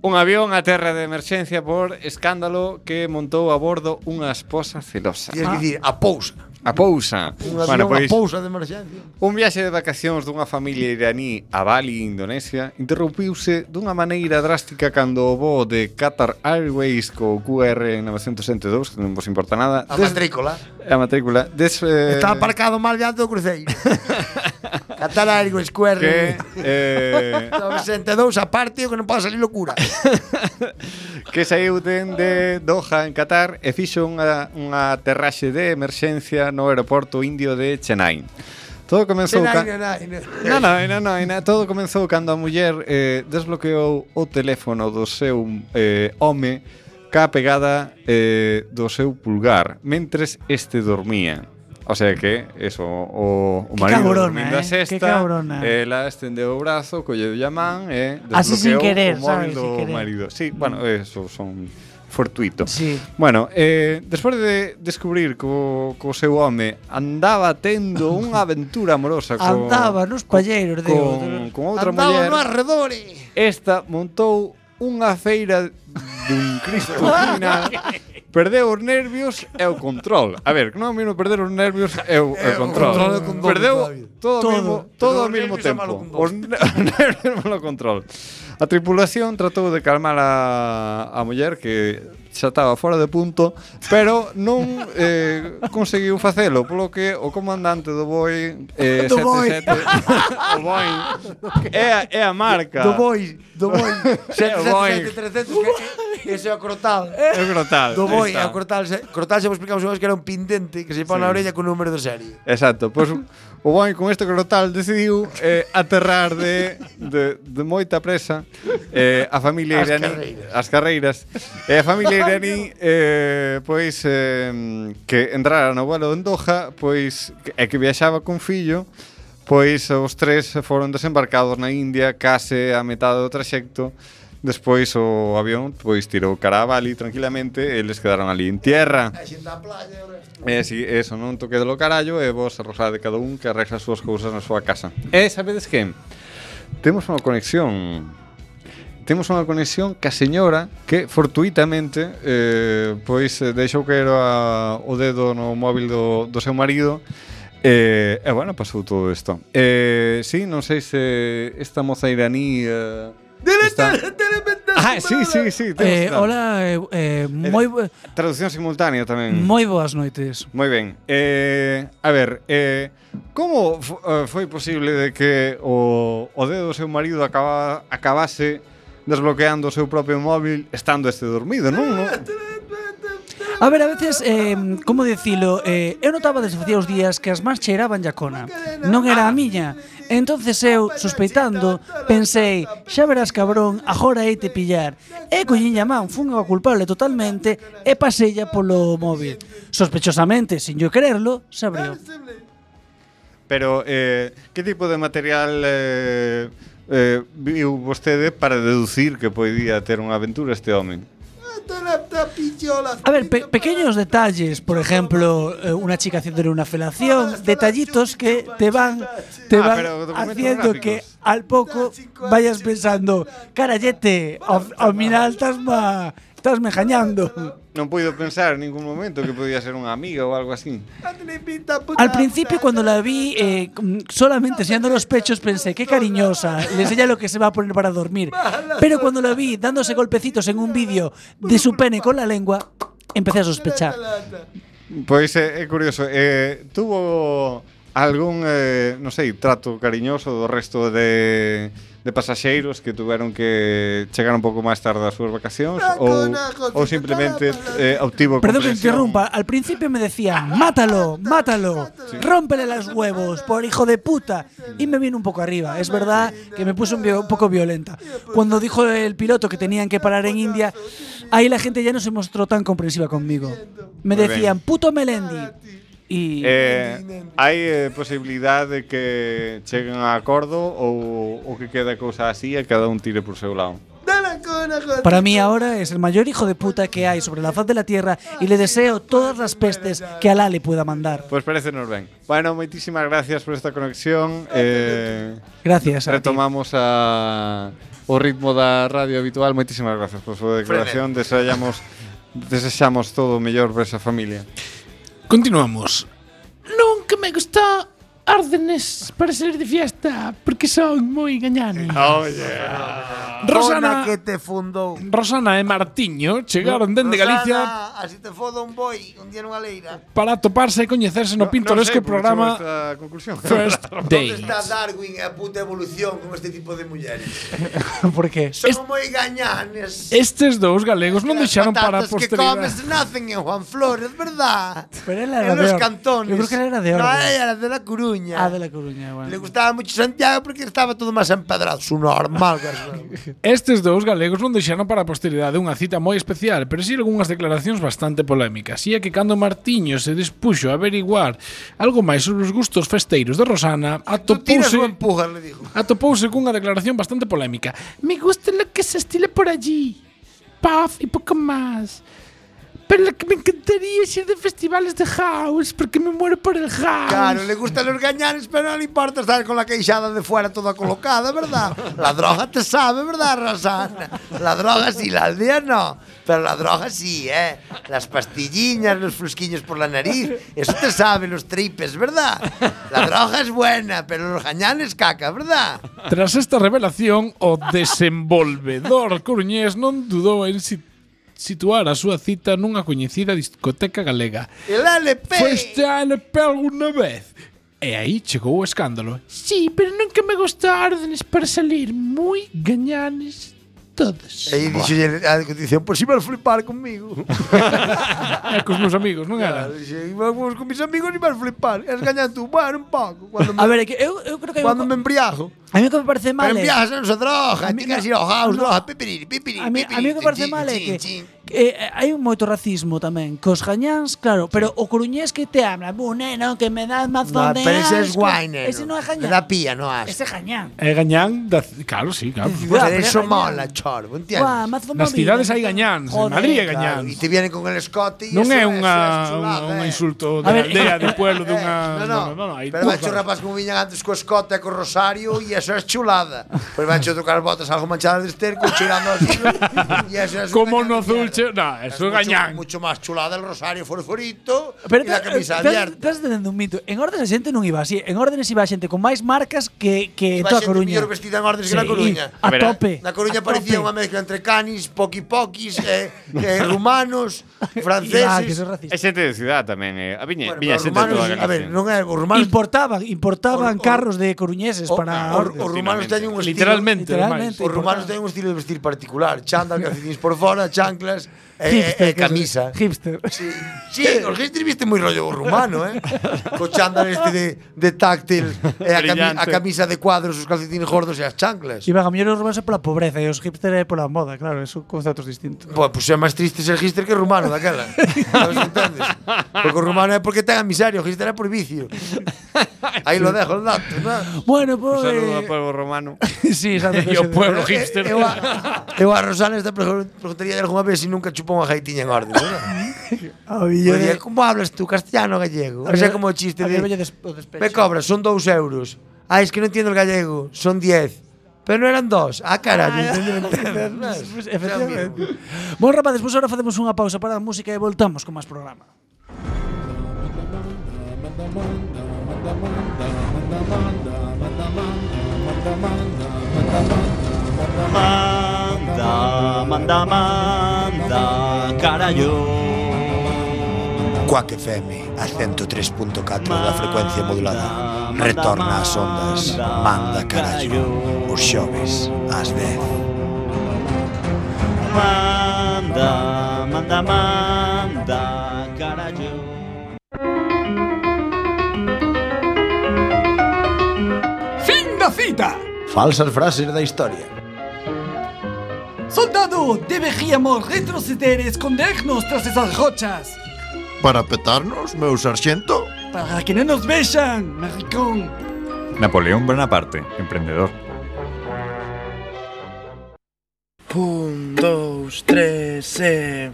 D: Un avión aterra de emerxencia por escándalo que montou a bordo unha esposa celosa.
E: Tienes que dicir, a pousa.
D: A pousa.
E: Un
D: Bueno,
E: avión a
D: pois,
E: pousa de emerxencia.
D: un viaxe de vacacións dunha familia iraní a Bali, Indonesia, interrompiuse dunha maneira drástica cando o voo de Qatar Airways co QR 962, que non vos importa nada,
E: A
D: des-
E: matrícula.
D: a matrícula, des, eh,
E: Está aparcado mal diante
D: [laughs]
E: do cruceiro. Catar algo
D: que,
E: escuerre. [laughs]
D: eh,
E: 92 a parte que non pode
D: [laughs]
E: salir locura.
D: que saiu dende Doha en Qatar e fixo unha, unha aterraxe de emerxencia no aeroporto indio de Chennai. Todo comenzou
E: Nai,
D: ca-
E: nai, nai, nai.
D: Na, na, na, na, na, todo comenzou cando a muller eh, desbloqueou o teléfono do seu eh, home ca pegada eh, do seu pulgar mentres este dormía. O sea que, eso, o, o
B: Que
D: marido
B: cabrona,
D: dormindo a
B: eh, que
D: sesta,
B: cabrona.
J: eh,
D: ela estendeu o brazo, colleu a man e desbloqueou
B: eh. Así sin
D: o
B: querer,
D: móvil
B: sabes, sin
D: do
B: querer.
D: marido. Sí, bueno, eso son fortuito.
B: Sí.
D: Bueno, eh, despois de descubrir co, co seu home andaba tendo unha aventura amorosa co,
B: Andaba nos palleiros,
D: con,
B: digo.
D: con outra
E: Andaba
D: muller.
E: no arredore.
D: Esta montou unha feira dun
E: [laughs]
D: Cristo final. Perdeu os nervios e o control. A ver, non é o mesmo perder os nervios e o, e o control.
E: control e Eh, o control,
D: Perdeu
E: Flavio.
D: todo, todo,
B: Todo.
D: mismo, todo ao
E: Pero os
D: mesmo
E: nervios é
D: tempo.
E: malo con
D: Os ne- [laughs] os nervios e o control. A tripulación tratou de calmar a, a muller que xa estaba fora de punto, pero non eh, conseguiu facelo, polo que o comandante do Boeing eh,
E: Do Boeing.
D: 77 [laughs] o Boeing é, a- é a marca. É,
E: Do boi, do
D: [laughs]
E: boi.
D: Do boi.
E: 777, que- Ese é o crotal.
D: É brutal.
E: Do boi, é
D: Está.
E: o crotal. se- Crotal xa vos explicamos unha vez que era un pendente que se pon na
D: Sí.
E: orella con número de serie.
D: Exacto, pois o Boeing con este crotal decidiu eh, aterrar de, de, de moita presa eh, a familia
E: As
D: iraní
E: carreiras.
D: as carreiras e a familia iraní eh, pois eh, que entrara no vuelo en Doha pois que- e que viaxaba con fillo pois os tres foron desembarcados na India case a metade do traxecto Despois o avión pois tirou cara a Bali tranquilamente, eles quedaron ali en tierra. Eh, si, eso, non toque do carallo e vos arrosade cada un que arregla as súas cousas na súa casa. E sabedes que temos unha conexión temos unha conexión ca señora que fortuitamente eh, pois eh, deixou caer a, o dedo no móvil do, do seu marido eh, e bueno, pasou todo isto eh, si, sí, non sei se esta moza iraní eh, está... Ah, sí, sí, sí temos
B: Eh,
D: esta.
B: hola, eh, eh, moi, bo-
D: Traducción simultánea tamén
B: moi boas noites.
D: Moi ben. Eh, a ver, eh, como f- eh, foi posible de que o, o dedo do seu marido acaba, acabase desbloqueando o seu propio móvil estando este dormido, non? non?
B: A ver, a veces, eh, como dicilo, eh, eu notaba desde facía os días que as más cheiraban Yacona. Non era a miña. Entonces eu, sospeitando, pensei, xa verás cabrón, agora hei te pillar. E coñinha a man, fun a culpable totalmente e pasella polo móvil. Sospechosamente, sin yo quererlo, se abriu.
D: Pero eh, que tipo de material eh, eh, viu vostede para deducir que podía ter unha aventura este home?
B: A ver, pe- pequeños detalles, por ejemplo, eh, una chica haciéndole una felación, detallitos que te van, te
D: Ah,
B: van
D: pero documentos
B: haciendo
D: gráficos.
B: que al poco vayas pensando, carayete, al final estás ma, estás mejañando.
D: Non puido pensar en ningún momento que podía ser unha amiga ou algo así.
B: Al principio cuando la vi eh, con- solamente enseñando los pechos pensé, qué cariñosa, le enseña lo que se va a poner para dormir. Pero cuando la vi dándose golpecitos en un vídeo de su pene con la lengua, empecé a sospechar.
D: Pois é, é curioso. Eh, tuvo algún, eh, non sei, trato cariñoso do resto de, de pasaxeiros que tuveron que chegar un pouco máis tarde ás súas vacacións ou, ou simplemente eh, obtivo
B: Perdón que te
D: comprensión?
B: interrumpa. Al principio me decían, mátalo, mátalo, rómpele los huevos, por hijo de puta. Y me vino un poco arriba. Es verdad que me puse un, vio- un poco violenta. Cuando dijo el piloto que tenían que parar en India, ahí la gente ya no se mostró tan comprensiva conmigo.
D: Muy
B: Me
D: bien.
B: decían, puto Melendi. Y
D: Eh, hai eh, posibilidade de que cheguen a acordo ou, ou que quede cousa así e cada un tire por seu lado?
B: Para mí ahora es el mayor hijo de puta que hay sobre la faz de la tierra y le deseo todas las pestes que Alá le pueda mandar.
D: Pues parece nos ben. Bueno, moitísimas gracias por esta conexión. Eh,
B: Gracias. a ti.
D: retomamos a o ritmo da radio habitual. Moitísimas gracias por súa declaración. Desexamos desexamos todo o mellor para esa familia.
G: Continuamos. Nunca me gustó órdenes para salir de fiesta porque son muy gañanos.
D: Oh, yeah.
G: Rosana,
E: Dona que te fundou.
G: Rosana e Martiño chegaron dende Galicia
E: Rosana, así te foda un boi un día nunha leira.
G: para toparse e coñecerse no pintoresco programa
D: Esta conclusión.
G: [laughs]
D: [laughs]
E: [laughs]
G: First
E: Onde
G: Dates.
E: está Darwin e a puta evolución con este tipo de mulleres?
D: [laughs]
B: ¿Por qué?
E: Son moi gañanes.
G: Estes dous galegos non deixaron para a
E: As patatas que comes
G: posteridade.
E: nacen en Juan Flores, verdad?
B: Pero él
E: En
B: era de
E: los
B: Or-
E: cantones.
B: Yo creo que él era de
E: No,
B: Orbe.
E: ella era de La Coruña.
B: Ah, de la Coruña, bueno.
E: Le gustaba mucho Santiago porque estaba todo más empedrado. Su normal. que
G: Estes dous galegos non deixaron para a posteridade unha cita moi especial, pero si algunhas declaracións bastante polémicas. E é que cando Martiño se dispuxo a averiguar algo máis sobre os gustos festeiros de Rosana,
E: Tú tiras
G: atopouse
E: o empujas, le dijo.
G: atopouse cunha declaración bastante polémica. Me gusta lo que se estila por allí. Puff y poco más. Pero lo que me encantaría es ir de festivales de house, porque me muero por el house.
E: Claro, le gustan los gañanes, pero no le importa estar con la queixada de fuera toda colocada, ¿verdad? La droga te sabe, ¿verdad, Rosana? La droga sí, la aldea no. Pero la droga sí, ¿eh? Las pastilliñas, los frusquillos por la nariz, eso te sabe, los tripes, ¿verdad? La droga es buena, pero los gañanes caca, ¿verdad?
G: Tras esta revelación, o desenvolvedor coruñés non dudou en si situar a súa cita nunha coñecida discoteca galega.
E: El LP.
G: Foi estar na pel unha E vez. E aí chegou o escándalo. Sí, pero nunca me gusta órdenes para salir moi gañanes todos.
E: E dixolle a condición, pois iba a flipar comigo.
G: É cos meus amigos, non era?
E: Claro, dixe, vamos con mis amigos e vas flipar. Es gañan tú, bueno, un pouco. Cuando me,
B: A ver, é que eu, eu creo que hai un
E: cuando me
B: co-
E: embriago.
B: a mí o que me parece mal é-
E: Pero embriagas non se droga,
B: A
E: a
B: mí
E: ti
B: no-
E: queres ir ao house,
B: no.
E: droga, pipiriri, pipiriri,
B: A mí, a mí o que parece mal é que, que eh, hai un moito racismo tamén cos gañáns, claro, pero o coruñés que te habla, bu, neno, que me das mazón
E: No,
B: de
E: pero ese es
B: asco".
E: guai, neno.
B: Ese non é gañán.
E: Da pía, no asco.
B: Ese é gañán.
G: É gañán da... Claro, sí,
E: [laughs]
G: claro.
E: Pues
B: Buah, pero
E: eres so
B: gañán.
E: mala, chorbo, entiendes?
B: Guau, mazón
G: Nas
B: movido,
G: cidades hai
B: mazón-
G: gañáns, en
B: Joder,
G: Madrid hai
B: claro.
G: gañáns.
E: E te vienen con el escote e
G: Non
E: eso-
G: é
E: eso
G: unha
E: chulada,
G: ah, un
E: eh.
G: insulto de
B: A ver,
G: aldea, de pueblo,
E: [laughs] Eh,
G: dunha...
E: no, no,
G: hai
E: pero
G: dúas
E: vancho
G: barras.
E: rapaz como viñan antes co escote e co rosario e eso é chulada. Pues, Pois vancho tocar botas algo manchadas de esterco chirando así. e eso é
G: Como
E: unha
G: no
E: mierda.
G: dulce... No, eso é
E: mucho-
G: gañán.
E: Mucho máis chulada el rosario forforito
B: Pero eh,
E: e la camisa abierta.
B: Estás entendendo un mito. En órdenes a xente non iba así. En órdenes iba a xente con máis marcas que, que
E: Iba
B: toda
E: xente
B: Coruña.
E: mellor vestida en Ordes que na Coruña.
B: A
D: Verá,
B: tope.
E: Na Coruña
B: a
E: parecía
B: tope.
E: unha mezcla entre canis, poqui-poquis, eh, eh,
B: [laughs]
E: rumanos, franceses.
B: Ah, que son
D: É
B: racistas.
D: xente de cidade tamén, eh. A viña,
E: Bueno,
D: viña
E: pero
D: xente de toda a
E: rumanos, a
D: Galicia.
E: ver, non é os rumanos.
B: Importaban, importaban
E: O- o-
B: carros de coruñeses
E: o-
B: para
E: o-
B: Ordes.
E: Os rumanos teñen un estilo-
G: Literalmente, ademais.
B: Literalmente.
E: Os rumanos teñen un estilo de vestir particular, chándal, calcetines por fora, chanclas e, e,
B: que
E: e
B: son-
E: camisa.
B: Hipster.
E: Sí, sí, os hipsters viste moi rollo rumano, eh? Co chándal este de, de táctil e a, cami
D: Brillante.
E: a camisa de cuadros, os calcetines gordos e as chanclas.
B: Iba a mellor os rumanos é pola pobreza e os hipster é pola moda, claro, son conceptos distintos.
E: Pois pues é máis triste ser hipster que rumano daquela. Sabes que entendes? Porque o rumano é porque ten a miseria, o hipster é por vicio. Aí lo dejo el dato, ¿no?
B: Bueno,
D: Un
B: pues, pois
D: saludo ao pueblo romano.
B: [laughs] sí, sabe
G: E o
E: Eh,
G: pueblo hipster.
E: Eu a, eu a Rosana esta pregun- preguntaría algunha vez se nunca chupou unha gaitiña en orden, ¿no?
B: A billo
E: Yo
B: de
E: diría, como hablas tú, castellano o gallego? O sea, como o chiste de... Me cobras, son dous euros. Ah, es que non entiendo el gallego, son 10. Pero non eran dos. Ah, carallo, entendí, entendí,
B: Pues,
E: entendí.
B: efectivamente. Bon, rapaz, despois agora facemos unha pausa para a música e voltamos con máis programa.
J: Manda, manda, manda, carallo.
E: Cuac FM, a 103.4 da frecuencia modulada. Retorna ás ondas, manda carallo, os xoves, ás 10.
J: Manda, manda, manda, carallo.
F: Fin da cita.
E: Falsas frases da historia.
F: Soldado, deberíamos retroceder e escondernos tras esas rochas.
C: Para petarnos, meu sarxento?
F: Para que no nos vean, maricón.
K: Napoleón Bonaparte, emprendedor. Un, dous, tres e...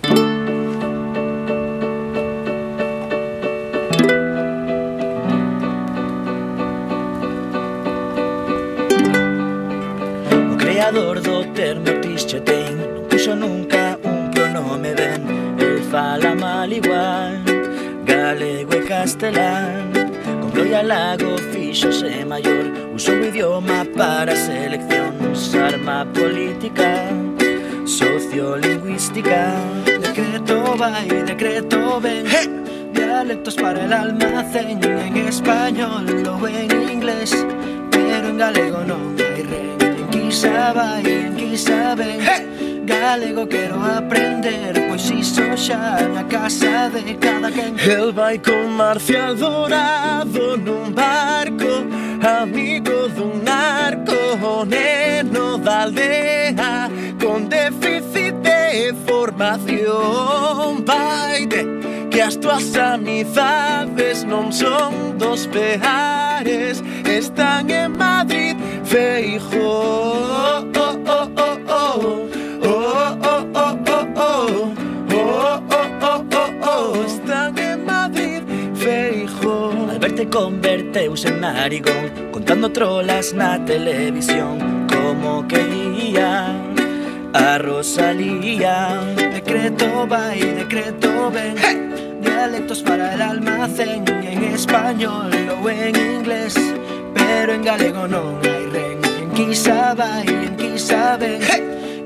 L: O creador do termo Tischotein Non puxo nunca un pronome ben El fala mal igual Galego e castelán Con gloria lago fixose maior Usou o idioma para a selección Arma política Sociolingüística Decreto va y decreto ven Dialectos para el almacén En español o en inglés Pero en galego non hai rey Quizá vai, quizá ven Galego quero aprender pues Pois iso xa na casa de cada quen
K: El vai con Marcial Dorado nun barco Amigo dun narco o neno da aldea Con déficit de formación Vai de que as tuas amizades non son dos peares Están en Madrid Feijóo oh, oh, oh, oh. Oh, oh, oh, oh, oh. Oh, oh, oh, oh, oh. Están en Madrid Feijóo
L: Alberte converteuse en narigón Contando trolas na televisión Como quería a Rosalía
K: Decreto va y decreto ven
L: Dialectos para el almacén En español o en inglés Pero en galego non hai ren En quizá vai, en quizá ven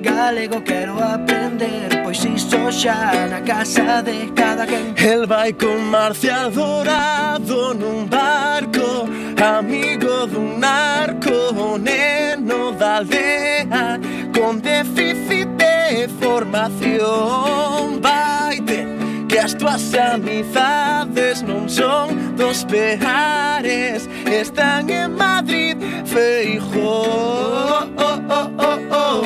L: Galego quero aprender pues Pois iso xa na casa de cada quen
K: El vai con Marcial Dorado nun barco Amigo dun narco o neno da aldea Con déficit de formación Vaite que as tuas amizades non son dos peares Están en Madrid Feijó oh, oh, oh, oh, oh.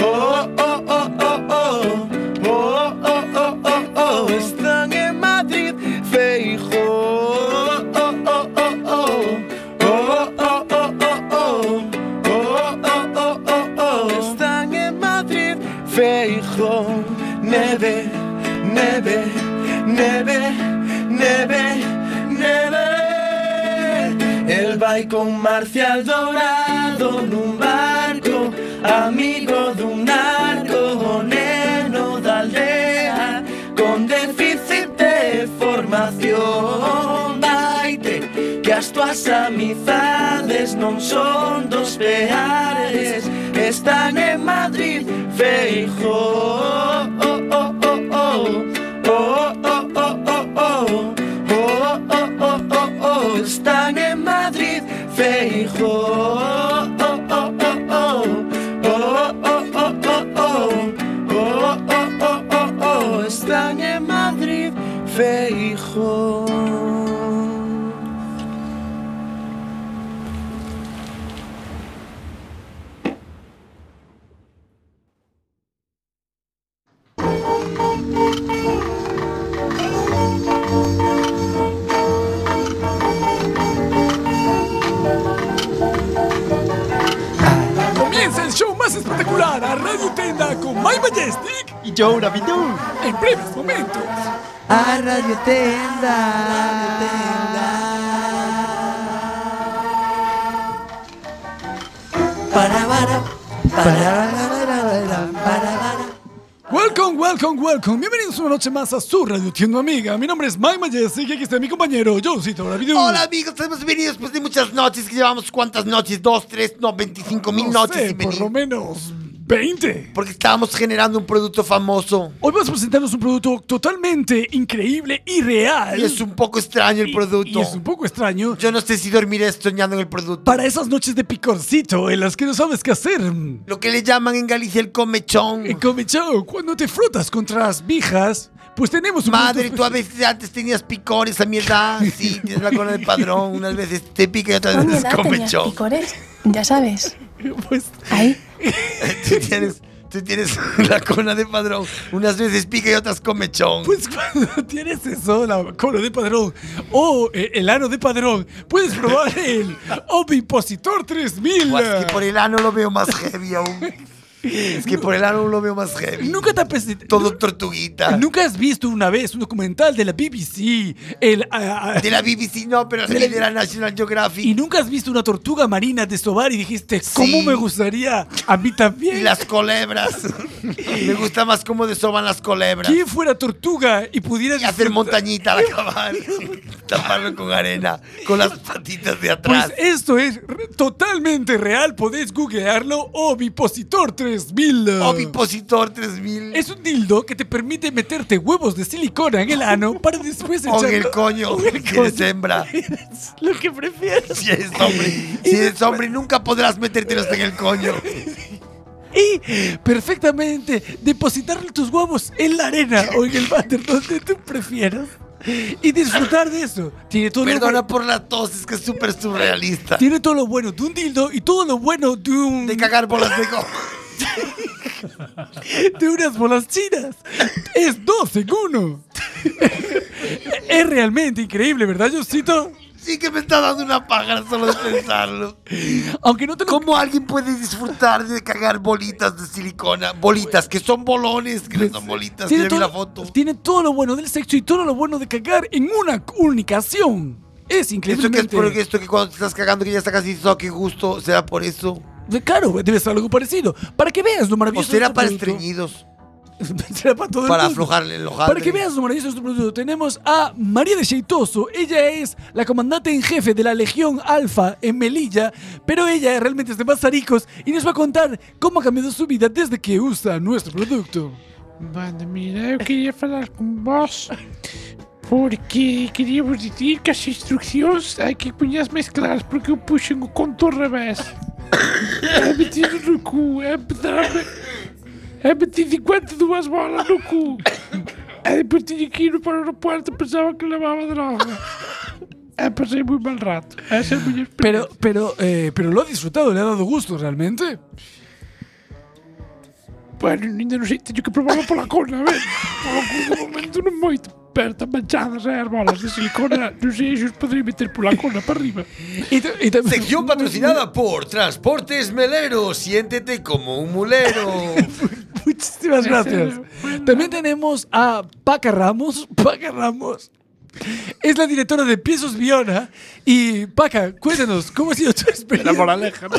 K: Oh, oh, oh, oh, oh. Oh, oh, oh, oh, oh. Están en Madrid Feijó oh, oh, oh, oh, oh. Oh, oh, oh, oh, oh. Oh, oh, oh, oh, oh. Están en Madrid Feijó Neve, neve, neve, neve, neve El vai con Marcial Dorado nun barco Amigo dun narco o neno da aldea Con déficit de formación Vaite que as tuas amizades non son dos peares Están en Madrid Feijóo oh, oh, oh, oh. Oh, oh, oh, oh, oh. Oh, oh, oh, oh, oh. Están en Madrid Feijóo oh, oh, oh, oh. Oh, oh, oh, oh, oh. Oh, oh, oh, oh, oh. Están en Madrid Feijóo
I: Comienza el show más espectacular a Radio Tenda con My Majestic y Joe Rabidoux en breves momentos.
K: A Radio Tenda.
I: Para, para, Welcome, welcome, welcome. Bienvenidos una noche más a su Radio Tienda Amiga. Mi nombre es My Majestic y aquí está mi compañero Joecito Rabidoux.
E: Hola amigos, hemos venido después de muchas noches que llevamos cuántas noches, dos, tres, no, 25 mil
I: No
E: noches.
I: sé,
E: sin
I: por
E: venir.
I: lo menos 20.
E: Porque estábamos generando un producto famoso.
I: Hoy vamos a presentarnos un producto totalmente increíble y real.
E: Y es un poco extraño el
I: Y-
E: producto.
I: y es un poco extraño.
E: Yo no sé si dormiré soñando en el producto.
I: Para esas noches de picorcito en las que no sabes qué hacer.
E: Lo que le llaman en Galicia el comechón.
I: En Comechao, cuando te frotas contra las vijas, pues tenemos un
E: Madre,
I: producto
E: tú a veces antes tenías picores a
I: [laughs]
E: mi edad. Sí, tienes la cola del padrón. Unas veces te pica y otras [laughs] veces comechón.
M: picores? Ya
G: [laughs]
M: sabes.
I: Pues,
M: Ahí.
E: [laughs] tú tienes, tú tienes la cona de padrón. Unas veces pica y otras comechón.
I: Pues cuando [laughs] tienes eso, la cola de padrón o eh, el ano de padrón, puedes
E: [laughs]
I: probar el Ovipositor 3000. [laughs]
E: Guas, que por el ano lo veo más heavy aún. Es que por el álbum lo veo más heavy.
I: Nunca te apetece.
E: Todo tortuguita.
I: Nunca has visto una vez un documental de la BBC. El, ah, ah,
E: De la BBC no, pero sí de la National Geographic.
I: Y nunca has visto una tortuga marina desovar y dijiste, ¿cómo me gustaría? A mí también.
E: Y las culebras. Me gusta más cómo desoban las culebras.
I: ¿Quién fuera tortuga y pudiera
E: Y hacer
I: [laughs]
E: montañita al acabar. Taparlo con arena. Con las patitas de atrás.
I: Pues esto es re- totalmente real, podéis googlearlo. Ovipositor 3000. eh.
E: Ovipositor 3000.
I: Es un dildo que te permite meterte huevos de silicona en el ano para
E: [laughs]
I: después
E: Con
I: echarlo. [laughs]
E: el coño
I: Con el
E: que
I: coño. [laughs]
E: eres hembra.
I: Lo que prefieras.
E: Si eres hombre, si eres hombre nunca podrás metértelos en el coño.
I: [laughs] Y perfectamente depositar tus huevos en la arena o en el váter, donde tú prefieras. Y disfrutar de eso. Tiene todo lo
E: Perdona
I: bueno-
E: por la tos, es que es súper surrealista.
I: Tiene todo lo bueno de un dildo y todo lo bueno de un.
E: De cagar bolas de goma.
I: [laughs] de unas bolas chinas. Es dos en uno. es realmente increíble, ¿verdad, Josito?
E: Sí que me está dando una paja solo de pensarlo.
I: Pues, eh, Aunque no te lo...
E: ¿Cómo alguien puede disfrutar de cagar bolitas de silicona? Bolitas, que son bolones, que no son bolitas.
I: Tiene
E: Ya vi
I: todo,
E: la foto.
I: tiene todo lo bueno del sexo y todo lo bueno de cagar en una única acción. Es
E: Esto que, es
I: increíblemente...
E: por esto que cuando te estás cagando que ya está casi dices, oh, qué gusto, será por eso.
I: De- Claro, debe ser algo parecido. Para que veas lo
E: O
I: maravilloso de
E: será
I: este
E: para
I: producto.
E: estreñidos.
I: [laughs] Será para todo el
E: Para
I: mundo.
E: aflojarle el ojal.
I: Para que veas lo maravilloso de este producto, tenemos a María de Sheitoso. Ella es la comandante en jefe de la Legión Alfa en Melilla, pero ella realmente es de Mazaricos y nos va a contar cómo ha cambiado su vida desde que usa nuestro producto.
G: Bueno, mira, eu queria falar con vos porque queria vos dizer que as instruccións hai que poñas máis claras porque eu puxen o conto ao revés. É metido no cu, é pedrame. É metido 52 bolas no cu. É E depois tiña que ir para o aeropuerto e pensaba que levaba droga. É E pasei moi mal rato. Esa é a miña
I: Pero, pero, eh, pero lo ha disfrutado, le ha dado gusto realmente.
G: Bueno, ainda non sei, teño que probarlo pola cona, ben? Polo cu de momento non moito, pero están manchadas eh, as bolas de silicona, non sei se os podrei meter pola cona para arriba.
I: Y ta- y ta-
E: Sección patrocinada por Transportes Melero. Siéntete como
I: [laughs]
E: un mulero.
I: Muchísimas gracias. También tenemos a Paca Ramos. [laughs] Paca Ramos es la directora de Piezos Viona. Y Paca, cuéntanos, ¿cómo ha
G: [laughs]
I: sido tu experiencia?
G: La moraleja, ¿no?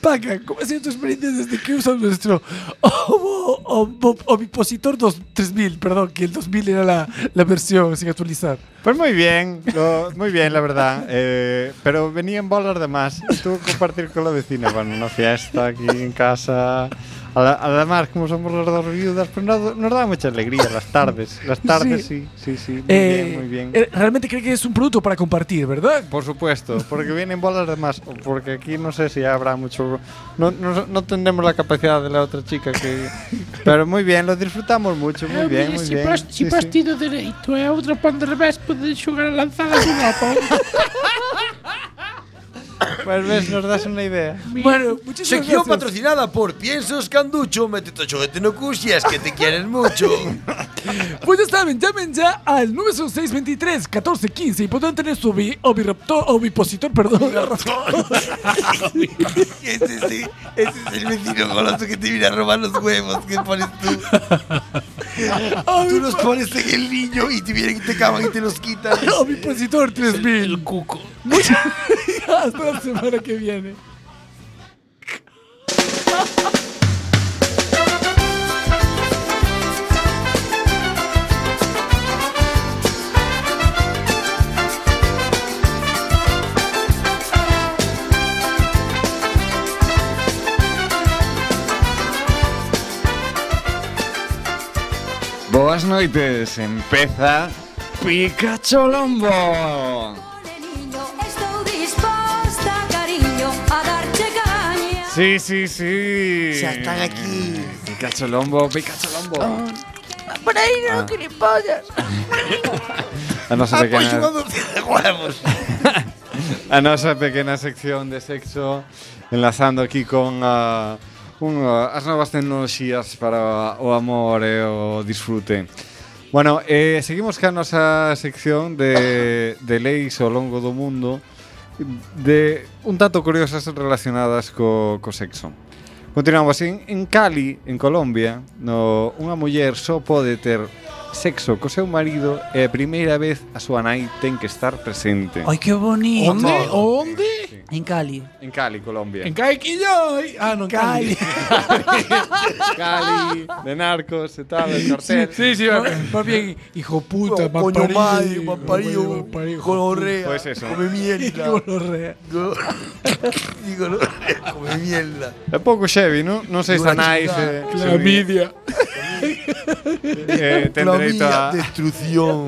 I: Paca, ¿cómo ha sido tu experiencia desde que usas nuestro ovo- ovo- ovipositor 2 3000? Perdón, que el 2000 era la, la versión sin actualizar.
D: Pues muy bien, lo- muy bien, la verdad. Eh, pero venían bolas de más. Estuve a compartir con la vecina. Bueno, una fiesta aquí en casa. A la- Además, como somos las dos viudas, pues nos, nos da mucha alegría las tardes. Las tardes, sí, sí, sí. Muy
I: Eh,
D: bien, muy bien.
I: eh, Realmente creo que es un producto para compartir, ¿verdad?
D: Por supuesto, porque vienen bolas de más. Porque aquí no sé si habrá mucho. No, no, no tendremos la capacidad de la otra chica. Que... Pero muy bien, lo disfrutamos mucho.
I: Ah,
D: Muy bien, muy
G: se
D: bien.
G: pos, se
D: Sí,
G: pos
D: sí.
G: tido dereito e a outra pan de revés podes xogar a lanzada un opo.
D: Pues ves, nos das una idea.
I: Bueno, muchísimas
E: Sección
I: gracias.
E: patrocinada por Piensos Canducho. Métete a choguete no cusias que te
I: [laughs]
E: quieren mucho.
I: Pues ya saben, llamen ya al 906 23 14 15 y podrán tener su ovi, oviraptor,
G: [laughs]
I: ovipositor, perdón. [laughs]
E: ese, sí, ese es el vecino goloso que te viene a robar los huevos que pones tú. tú los pones en el niño y te vienen y te cavan y te los quitan.
I: ovipositor 3000. El cuco. Muchas gracias. Hasta la semana que viene.
N: Boas noites, empeza Pikachu Lombo.
O: Estou disposta, cariño, a darte caña.
N: Sí, sí, sí.
O: Ya están
N: aquí. Pikachu Lombo, Pikachu Lombo.
O: Por ahí
N: no, Ah.
O: gilipollas.
N: [laughs]
D: A nosa,
E: [laughs] Ah, pues,
D: pequena,
E: jugando de huevos. [laughs]
N: [laughs]
D: a nosa pequena sección de sexo enlazando aquí con ah, un, ah, as novas tecnoloxías para o amor e o disfrute. Bueno, eh, seguimos ca nosa sección de, de leis ao longo do mundo de un tanto curiosas relacionadas co, co sexo. Continuamos en, en Cali, en Colombia, no unha muller só pode ter sexo co seu marido e a primeira vez a súa nai ten que estar presente.
B: Ai, que bonito.
D: Onde?
B: Onde? En Cali.
D: En Cali, Colombia.
G: En Caiquillo. Ah, no, en Cali. [laughs]
D: Cali, de narcos e tal, el cartel.
G: Sí, sí, va va bien. Hijo
D: Oh,
G: puta,
D: coño
G: mal
D: madre, mal parido,
G: mal parido, hijo
E: Gonorrea.
G: puta.
D: Pues eso.
E: Come mierda.
G: Gonorrea.
E: Go- Y gonorrea. Come mierda.
D: É pouco xevi, non? Non sei se a nai se...
G: Clamidia.
E: [laughs]
D: Eh, ten derecho
E: Clamía,
D: a-
E: destrucción.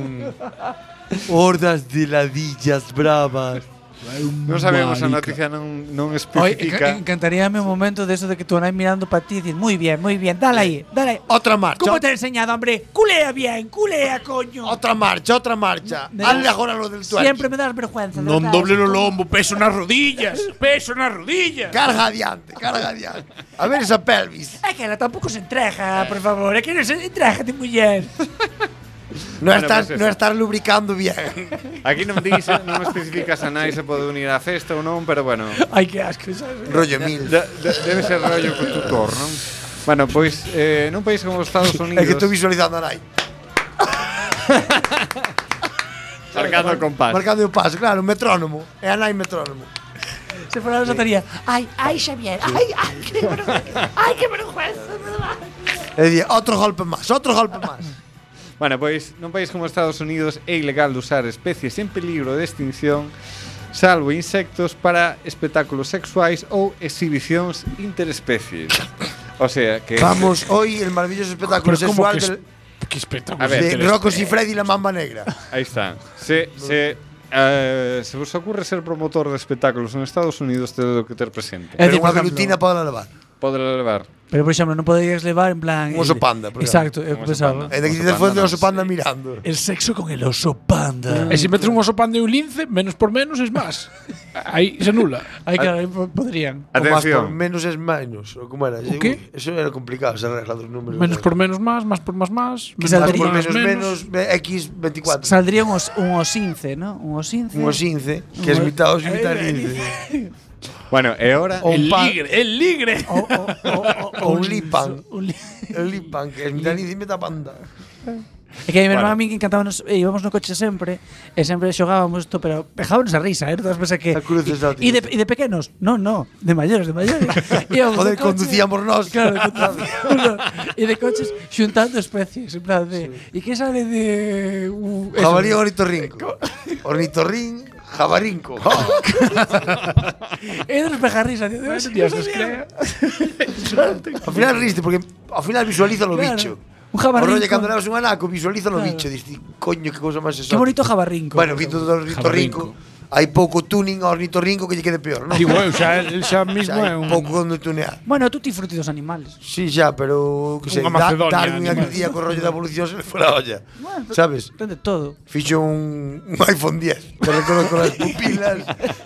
E: Hordas de ladillas bravas.
D: Non sabemos a noticia non, non
B: Hoy encantaría
D: especifica.
B: encantaríame un momento de eso de que tú andáis mirando para ti y dices, muy bien, muy bien, dale ahí, dale ahí.
E: Otra marcha.
B: ¿Cómo te he enseñado, hombre? Culea bien, culea, coño.
E: Otra marcha, otra marcha.
B: Me
E: Hazle
B: das-
E: ahora lo del tuerto.
B: Siempre me das vergüenza. de
E: Non
B: verdad.
E: doble lo
G: Como
E: lomo.
G: peso nas
E: [laughs]
G: rodillas. Peso nas rodillas.
E: Carga adiante, carga adiante. A ver esa pelvis.
B: Es que la tampoco se entreja, por favor. Es que no se entreja de mujer.
E: No
D: Bueno,
E: estás,
D: pues eso.
E: no estás lubricando bien.
D: [laughs] Aquí non dice, non especifica se a nai se pode unir á festa ou non, pero bueno.
B: Ay, qué asco. ¿sabes?
E: Rollo mil.
D: De- de- debe ser rollo con tutor, non? Bueno, pois eh, nun país como os
E: [laughs]
D: Estados Unidos...
E: Es que estoy visualizando a Nai.
D: Marcando o compás.
E: Marcando un paso, claro, un metrónomo. Es a Nai metrónomo.
B: Se fue a la lotería. Ay, ay, Xavier. Ay, ay, qué vergüenza. Ay, qué vergüenza. de verdad.
E: Es decir, otro golpe más, otro golpe más.
D: Bueno, pois nun país como os Estados Unidos é ilegal usar especies en peligro de extinción salvo insectos para espectáculos sexuais ou exhibicións interespecies. O sea que...
E: Vamos, hoy el maravilloso espectáculo
D: Pero ¿cómo
E: sexual
D: que es-
E: del-
G: Qué espectáculo.
D: A ver,
E: de Rocos y Freddy y la Mamba Negra.
D: Ahí está. Se, se, eh, se vos ocurre ser promotor de espectáculos en Estados Unidos, tedo que ter presente.
E: Pero una glutina para lavar.
D: Podrá levar.
B: Pero, por ejemplo, no podías llevar en plan.
E: Un oso
B: el-
E: panda, por
B: Exacto,
E: ejemplo.
B: es que
E: Un oso
B: pensaba.
E: Es de que te fue de oso panda mirando.
B: El sexo con el oso panda.
G: E se metes un oso pan de un lince, menos por menos es más. Aí se anula. Aí claro, aí po- podrían.
E: O más por
D: Atención.
E: menos es menos. ¿O cómo era?
G: ¿O qué?
E: Eso era complicado, esa regla dos números.
G: Menos por menos más, más por más más.
E: Más
G: menos
E: por menos,
G: menos.
E: menos, eh, X 24.
B: Saldría un, os- un osince, ¿no? Un osince.
E: Un osince, que es
B: os-
E: mitad oso y
G: [laughs]
E: mitad lince.
D: Bueno, e ahora...
E: O un pan.
G: el ligre.
B: O, o- o- o-
E: O un
G: [laughs]
E: lipan.
B: un li-
E: El lipan, que es mitad lince y mitad panda.
B: É que a mi
D: Bueno.
B: hermano a mí que encantábamos, eh, íbamos no coche sempre, e sempre xogábamos isto, pero pejábamos a risa, eh? Todas as veces que...
E: A cruz exótica.
B: E de, e de pequenos? No, no, de maiores, de
E: [laughs]
B: maiores. Íbamos
E: Joder,
B: de coche-
E: conducíamos nós.
B: Claro,
E: [laughs]
B: conducíamos E de coches xuntando especies, en plan de... E que sale de... Uh, eso,
E: Jabalí
G: [laughs]
B: de- [laughs]
E: ornitorrinco. Ornitorrin, jabarinco. [laughs]
B: E dos pejarrisa, tío. Dios,
G: Dios nos [laughs]
E: [laughs]
B: crea.
E: Al final riste, porque al final visualiza lo
B: Claro.
E: bicho.
B: Un
E: O
B: jabarrinco.
E: rollo cando levas un anaco, visualiza lo
B: Claro.
E: bicho. Dices, coño, qué cosa más exótica.
B: Que bonito jabarrinco.
E: Bueno, visto todo ornitorrinco, hay pouco tuning a ornitorrinco que lle quede peor, ¿no?
G: Digo, eu xa, el
E: [laughs]
G: xa mismo é
E: hay
G: un
E: pouco onde tunear.
B: [laughs] Bueno, tú ti fruti dos animales.
E: Sí, ya, pero que sei,
G: Unha
E: da,
G: Macedonia,
E: Darwin
G: animal.
E: aquel día co rollo da evolución se le foi a olla. Sabes?
B: Ten de todo.
E: Fixo un, un iPhone 10, te reconozco las
B: [laughs]
E: pupilas,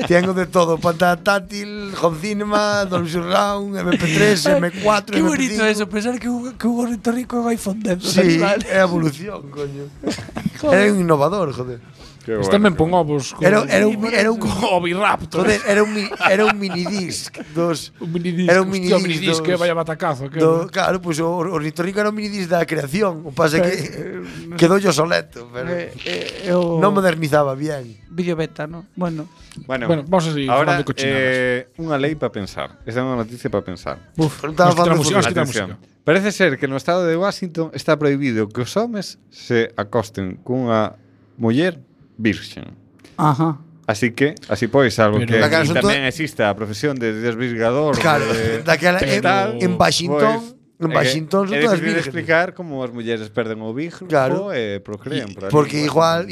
E: tengo de todo, pantalla táctil, home cinema, Dolby Surround, MP3, M4,
B: Qué bonito
E: MP5.
B: eso, pensar que un, que un ornitorrinco vai fondendo.
E: Sí, eh,
B: animal.
E: é evolución, coño. [laughs] Era un innovador, joder.
D: Qué
G: Este tamén pon ovos. con-
E: Era, era un era un
G: con oviraptor.
E: joder, era un mi- era un minidisc dos
G: [laughs] Un minidisc.
E: Era un
G: Hostia,
E: minidisc
G: minidisc,
E: dos-
G: que vaya batacazo. eh. Que
E: do, claro, pois pues, o ornitorrinco era un minidisc da creación, o
G: Eh,
E: pasa que quedou yo soleto, pero
B: Eh, eh, o
E: non modernizaba bien.
B: Video beta, ¿no? Bueno.
D: Bueno,
G: Bueno, vamos a seguir
D: ahora,
G: falando cochinadas.
D: eh, unha lei para pensar. Esta é unha noticia para pensar.
G: Uf,
E: Pero
G: nos quita
E: estaba falando
G: a música, nos quita
D: Atención.
G: a música.
D: Parece ser que no estado de Washington está prohibido que os homes se acosten cunha muller virxen.
B: Ajá.
D: Así que, así pois, salvo que
G: Pero-
E: Daquela
D: aquí
E: son
D: tamén exista a profesión de desvirgador.
E: Claro, [laughs]
D: de,
E: daquela- en- en Washington-
D: é
E: en
D: que
E: Washington son
D: é difícil
E: todas
D: de
E: vírgenes.
D: explicar como as mulleres perden o virgo
E: Claro.
D: e
E: eh,
D: procrean. por ali.
E: Porque igual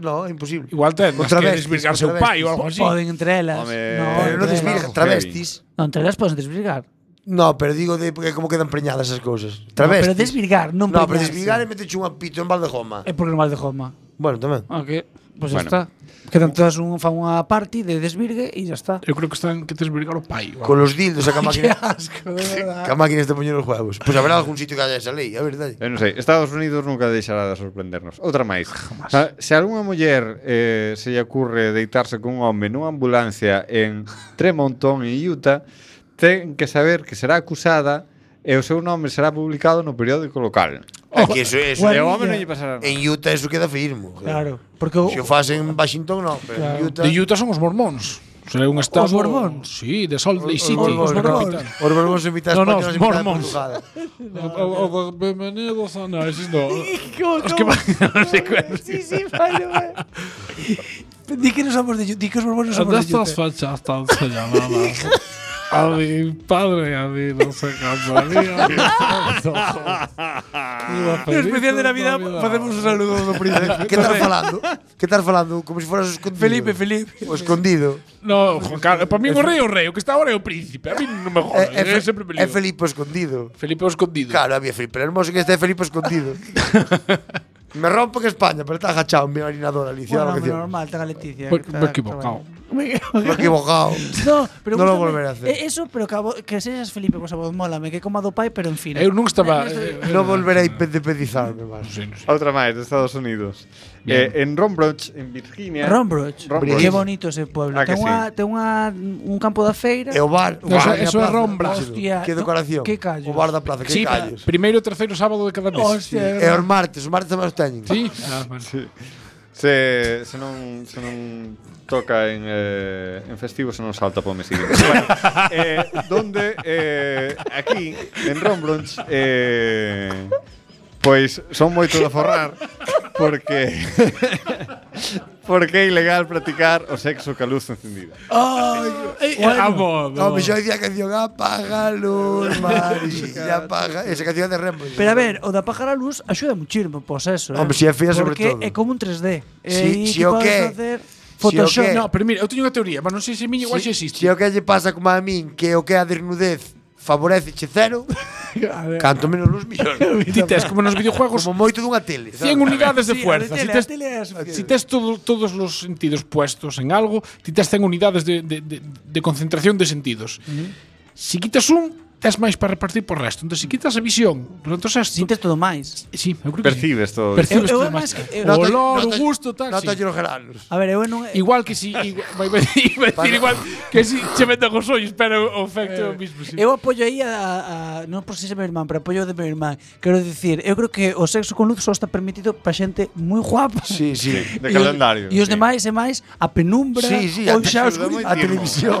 E: igual no, é imposible.
G: Igual ten
E: Otra
G: que
E: vez,
G: desvirgar
E: otra
G: seu
E: vez.
G: pai ou algo así.
B: Poden entre elas.
D: Home,
B: no,
E: Pero non
B: entre elas.
E: desvirga, travestis.
B: No, entre elas podes desvirgar.
E: No, pero digo de porque como quedan preñadas esas cousas.
B: No,
E: Travestis.
B: pero desvirgar, non
E: No, pero
B: preñarse.
E: desvirgar é meterche un apito en Valdejoma.
B: É porque non mal de Joma.
E: Bueno, tamén.
B: Eh,
G: Ah,
B: Ok. Pois pues
D: Bueno.
B: bueno. está. Quedan todas un, fan unha party de desvirgue e ya está.
G: Eu creo que están que desvirgar o pai. ou
E: Con los dildos a
B: [laughs]
E: que a
B: Qué
E: máquina,
B: asco, de
E: que a
B: verdad.
E: máquina este poñer os juegos. Pois pues haberá algún sitio que haya esa lei, a verdade.
D: Eu non sei, Estados Unidos nunca deixará de sorprendernos. Outra máis. Ah, Se algunha muller eh, se lle ocurre deitarse cun home nunha ambulancia en Tremonton, en Utah, ten que saber que será acusada e o seu nome será publicado no periódico local.
E: É que eso es.
D: E o home non lle pasará nada.
E: En Utah eso queda firmo.
B: Claro, porque o-
E: se o fas en Washington non, pero en
G: Claro.
E: Utah.
G: De
E: [laughs]
G: Utah son os mormóns. Será un estado...
E: Borbóns?
G: Sí, de Salt Lake
E: Os- os
G: City.
E: Borbóns,
G: capital.
E: os Borbóns en mitad
G: No, no,
E: españoles,
G: os
E: en mitad
G: mormóns.
E: portugal.
G: O- o- o- Bienvenidos a... No, esos no.
B: Os
G: que [laughs] van a los secuestros.
B: Sí, sí, vale, vale. Di que no somos de Utah, di que os mormones
G: De
B: somos de
G: estas
B: Utah.
G: fachas tan señaladas. A mi padre, a mí no se
E: [laughs]
B: [laughs]
G: cansaría.
E: No especial de Navidad
I: facemos un saludo do príncipe.
E: que estás falando? Que estás falando? Como se foras o escondido.
I: Felipe, Felipe.
E: O escondido.
G: No, Juan Carlos, para mí o rei é o rei, o que está agora é o príncipe. A mí non me jodas,
E: É, é,
G: é,
E: Fe-
G: sempre
E: é
G: peligroso.
E: Eh, Felipe o escondido.
G: Felipe o escondido.
E: Claro, había Felipe el hermoso que este é Felipe
G: [laughs]
E: o escondido. me rompo que España, pero está agachado en mi orinador, Alicia.
B: Bueno,
E: lo que
B: hombre,
E: sea.
B: normal, está Leticia.
G: Pues,
E: Me-
B: que
E: me
B: está-
E: equivocado.
B: Me he
E: Me he equivocado.
B: No, pero
E: No lo
B: gústame.
E: volveré a hacer.
B: Eh, Eso, pero que, a vo- que sexas Felipe con esa voz mola, me que coma do pai, pero en fin.
G: Eu non Eh,
B: eh,
G: estaba- eh,
E: No volveré a independizarme más.
D: Outra máis dos Estados Unidos.
B: Bien.
D: Eh, en Rombroch, en Virginia.
B: Rombroch.
D: Rombroch.
B: Qué bonito ese pueblo.
D: Ah, que
B: Ten, unha, ten unha, un campo da feira.
E: E o bar. o bar na plaza.
B: Hostia,
E: Que
B: no,
E: decoración.
B: Que callos.
E: O bar da plaza, que
G: Sí,
E: callos.
G: primeiro e terceiro sábado de cada mes.
E: Hostia, E os martes, os martes tamén os teñen.
G: Sí. Ah, bueno.
D: Sí. Se, se non se non toca en eh, en festivo se non salta para o mes seguinte. bueno, eh, donde eh, aquí en Rombrons eh, pois son moito de forrar porque [laughs] porque é ilegal practicar o sexo ca luz encendida.
E: Ay,
G: bueno. amo, amo.
E: Hombre, yo decía canción Apaga
G: [laughs]
E: luz, María, apaga. Esa canción de Rembo.
B: Pero a ver, o da pagar a luz axuda muchísimo, pois eso. eh.
E: Hombre, si é fea sobre
B: Porque
E: todo.
B: é como un 3D.
E: Si-
B: Eh,
E: si o qué?
B: Facer
E: Si o
B: Photoshop.
E: qué?
G: No, pero mira, eu teño unha teoría, mas non sei se a miña igual xa
E: Si-
G: existe.
E: Si o que lle pasa como a min, que o que é a desnudez favorece che cero, [laughs] canto menos
G: [laughs]
E: luz millón.
G: Ti tes como
E: [laughs]
G: nos videojuegos
E: Como moito dunha tele.
G: 100 unidades de fuerza. Si tes,
B: si
G: tes todo- todos los sentidos puestos en algo, ti tes 100 unidades de, de- de- de concentración de sentidos. Si quitas un, tes máis para repartir por resto. Entón, si quitas a visión, pues, entón,
B: Sintes todo máis.
G: Sí, eu creo que sí.
D: Percibes todo. isto.
G: Percibes
B: Eu- eu
G: todo
B: máis
G: máis.
B: que- eu-
G: O
B: Nota-
G: olor, o
B: nota-
G: gusto, tal.
E: Nota
G: sí. [laughs]
E: lle regalarlos.
B: A ver, eu non
G: Igual que si igual, [laughs] iba a decir- iba a decir igual que si che metan os ollos, pero o efecto é o mismo. sí.
B: Eh, Eu apoio aí a, a non por si é meu irmán, pero apoio o de meu irmán. Quero dicir, eu creo que o sexo con luz só está permitido para xente moi guapa. [laughs]
E: Sí, sí.
D: De
B: E os-
D: calendario.
B: E os demais é máis a penumbra
E: Sí, sí,
B: ou
E: a-
B: xa a
E: ayuda
B: oscuridade.
E: A televisión.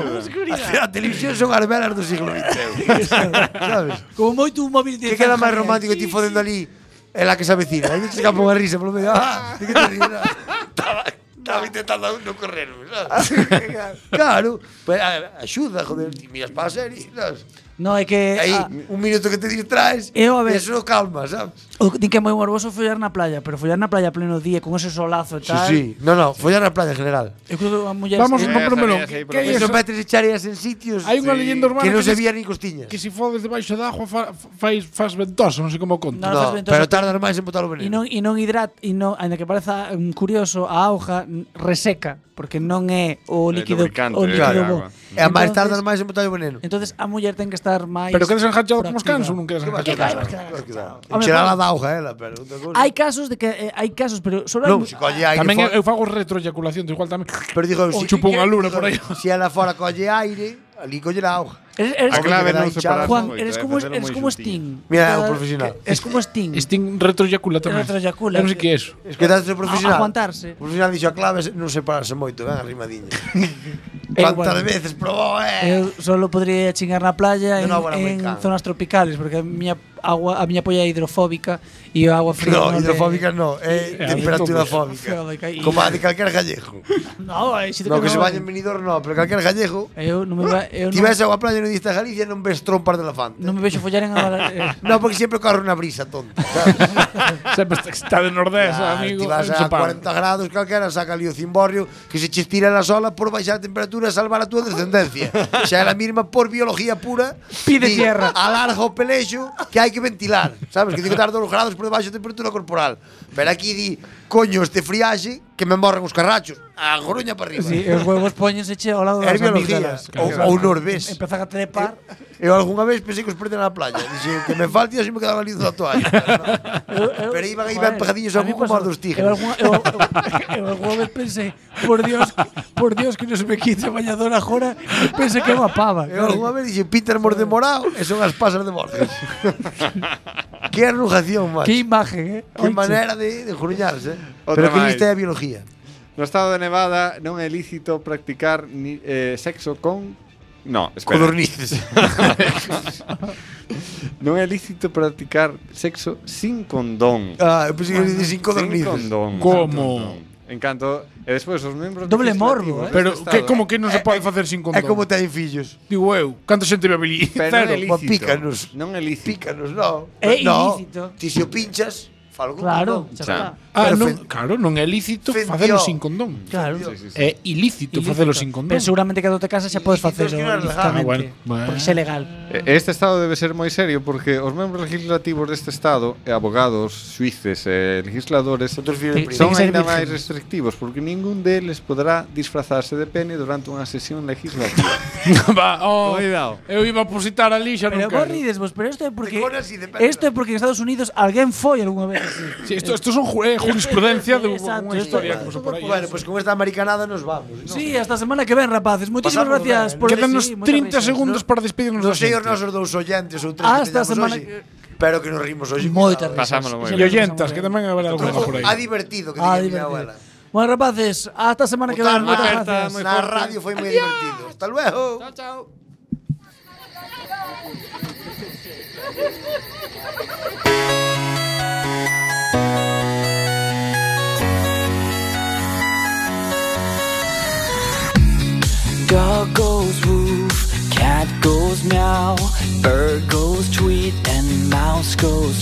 E: A televisión son as velas do siglo XX. [laughs] Sabes?
B: Como moito un móvil de
E: Que queda máis
B: zanja,
E: romántico ti fodendo ali é la que se avecina. Aí se escapa unha risa polo medio. [laughs] Ah, de que te ríes? Estaba intentando non correr, sabes? Ah, claro, pues, a- axuda, joder, ti miras para a serie, sabes?
B: No, é que ah,
E: Aí,
B: a-
E: un minuto que te distraes,
B: Eu, a ver-
E: eso calma, sabes?
B: o que din que é moi morboso follar na playa, pero follar na playa a pleno día con ese solazo e
E: Sí,
B: tal.
E: sí. No, no, follar na playa en general.
B: Eu creo que a muller
G: Vamos
B: Eh,
G: a compromelo.
D: sabía, sí,
G: Que é
E: Eso
G: eso?
E: metes e chareas en sitios
G: Hai unha leyenda urbana
E: que non
G: que
E: se
G: diz-
E: vía nin costiñas.
G: que si fodes debaixo da agua fa, fais, fas ventosa, non sei como conta.
B: No,
E: No,
B: faz ventosa.
E: pero tardas máis en botar o
B: E non,
E: veneno.
B: e non hidrata, e non, ainda que pareza mm, curioso, a auga mm, reseca, porque non é o líquido,
D: lubricante,
B: o
D: é a
B: líquido bo.
D: auga.
E: E a máis
B: Entonces-
E: tardas máis en botar o veneno.
B: Entonces a muller ten que estar máis
G: Pero quedes enganchado como os
B: proactiva.
G: cans ou non quedes
E: Que
G: enganchado?
E: vas, que vas, que vas.
B: Home,
E: Encherar a
B: vamos.
E: da hoja, ela, pero outra cousa.
B: Hai casos de que eh, hai casos, pero solo
E: Non,
B: hai
E: se colle aire
G: Tamén
E: fora-
G: eu fago retroeyaculación, igual tamén.
E: Pero digo, si
G: chupo unha luna por aí.
E: Si ela fora colle aire, ali colle a hoja.
B: eres, eres,
D: A clave
E: Porque
D: non
E: queda
D: separar
E: hinchado.
B: Juan,
D: moito,
G: eh,
B: eres
D: é
B: como
D: facelo
B: eres
D: moi
B: como
D: xuntiño.
B: Sting.
E: Mira,
B: Cada-
E: o profesional.
B: que- Es como Sting.
G: Sting retroeyacula tamén.
B: Retroeyacula.
G: Eu non sei que é eso.
E: Escoitaste o profesional.
B: aguantarse.
E: O profesional dixo a clave é non separarse moito, ben arrimadinha.
B: É
E: Cuántas
B: igual.
E: veces probou, eh?
B: Eu Eh, solo podría chingar na playa
E: De
B: en,
E: novo era
B: en
E: moi can.
B: zonas tropicales porque a miña agua a miña polla é hidrofóbica e a agua fría non
E: No,
B: le-
E: hidrofóbica no, é
G: Eh, a mí
E: temperatura
G: tampouco.
E: fóbica.
B: Fóbica e-
E: Como a de calquer gallego.
B: No, eh, xito
E: No, que se
B: non.
E: baña en venidor, no, pero calquer gallego. Ah,
B: Eu non me va, eu
E: Ti
B: non,
E: vais a unha playa nudista de Galicia e non ves trompas de elefante.
B: non me vexo follar en
E: [laughs]
B: agua. eh,
E: No, porque sempre corre unha brisa tonta, sabes?
G: Sempre está, está de nordés,
E: Claro,
G: amigo.
E: Ti vas a
G: Chapao.
E: 40 grados, calquera, saca ali o cimborrio que se che estira na sola por baixar a temperatura e salvar a túa descendencia. Xa é a mesma por biología pura.
B: Pide
E: di,
B: tierra.
E: Alarga o pelexo que hai que ventilar. Sabes, que ten que estar 2 grados por debaixo da temperatura corporal. Pero aquí di, coño, este friaxe que me morren os carrachos. A Coruña para arriba.
B: Sí, e os huevos póñense che ao lado
E: É
B: das
E: biología.
B: amígdalas.
E: Ou, ou nos ves.
B: Empezan a trepar.
E: Eu algunha vez pensei que os perden na playa. Dixen que me falte e así me quedaba lindo da
I: [laughs]
E: toalla. Pero iban aí ben pegadiños ao cu como os dos tigres.
I: Eu alguna, eu, eu, eu alguna vez pensei, por Dios, por Dios que non se me quite a bañadora agora, e pensei que é unha pava.
E: Eu alguna vez dixen Peter Mor de Morao e son as pasas de
I: [laughs]
E: Borges. que arrugación, macho.
I: Que imagen, eh?
E: Que
I: Oiche.
E: maneira de, de gruñarse.
D: Outra
E: Pero que
D: máis.
E: lista é a biología.
D: No estado de Nevada non é lícito practicar ni, eh, sexo con No, espera. [laughs]
E: Codornices.
D: non é lícito practicar sexo sin condón.
E: Ah, eu pensei que dicir sin codornices.
D: Sin condón.
G: Como?
D: En canto, e despois os membros
G: Doble
D: legislativos
G: morbo, eh?
D: deste
G: Pero que,
D: estado-
G: como que non se pode facer sin condón?
E: É como ten fillos.
G: Digo eu, canta xente bebe ali?
D: Pero non é
G: Cero.
D: lícito.
E: pícanos.
D: Non é lícito.
E: Pícanos, non.
G: É
E: No.
G: ilícito.
E: Ti se o pinchas, falo con
G: Claro,
E: condón.
G: xa está. Ah,
E: Pero
G: non, claro, non é lícito
E: Fenció.
G: facelo sin condón.
B: Claro. Sí, sí, sí.
G: É ilícito facelo sin condón.
B: Pero seguramente que te casa xa podes facelo
E: que non é legal.
B: listamente.
E: Ah, bueno.
G: Bueno.
B: Porque é legal.
D: E Este estado debe ser moi serio porque os membros legislativos deste estado, e abogados, suíces e legisladores
E: Ten-
D: son
E: ten que ser
D: ainda máis
E: virxes.
D: restrictivos porque ningún deles poderá disfrazarse de pene durante unha sesión legislativa.
G: [laughs] Va, oh,
D: Cuidado.
G: eu iba a positar ali xa non
B: Pero vos
G: quero.
B: rides vos, pero esto é porque
G: perna.
B: esto é porque en Estados Unidos alguén foi algunha vez así.
G: Sí, esto, esto son ju- eh, jurisprudencia de
B: Exacto,
G: unha
B: esto-
G: historia que pasou por aí.
E: Bueno, pues con esta americanada nos vamos.
B: Sí, hasta a semana que ven, rapaces. Muchísimas
E: Pasamos
B: gracias
E: ben.
B: por
E: Quédanos
B: sí, moitas
E: 30
B: risas.
E: segundos
G: para despedirnos da
E: Non sei
G: xente.
E: os nosos dous ollentes ou tres
B: Hasta
E: que
B: semana
E: teñamos hoxe, pero que nos rimos hoxe.
B: Moitas
E: cuidado.
B: risas. Pasámoslo moi
G: E oyentas, que tamén haberá alguna por aí.
E: Ha divertido, que
B: Ah,
E: diría
B: divertido.
E: mi abuela.
B: Bueno, rapaces, hasta a semana que
E: Botar
B: ven. Moitas
E: aperta,
B: gracias.
E: moi Na forte. radio foi moi divertido. Hasta luego.
F: chao.
E: Chao,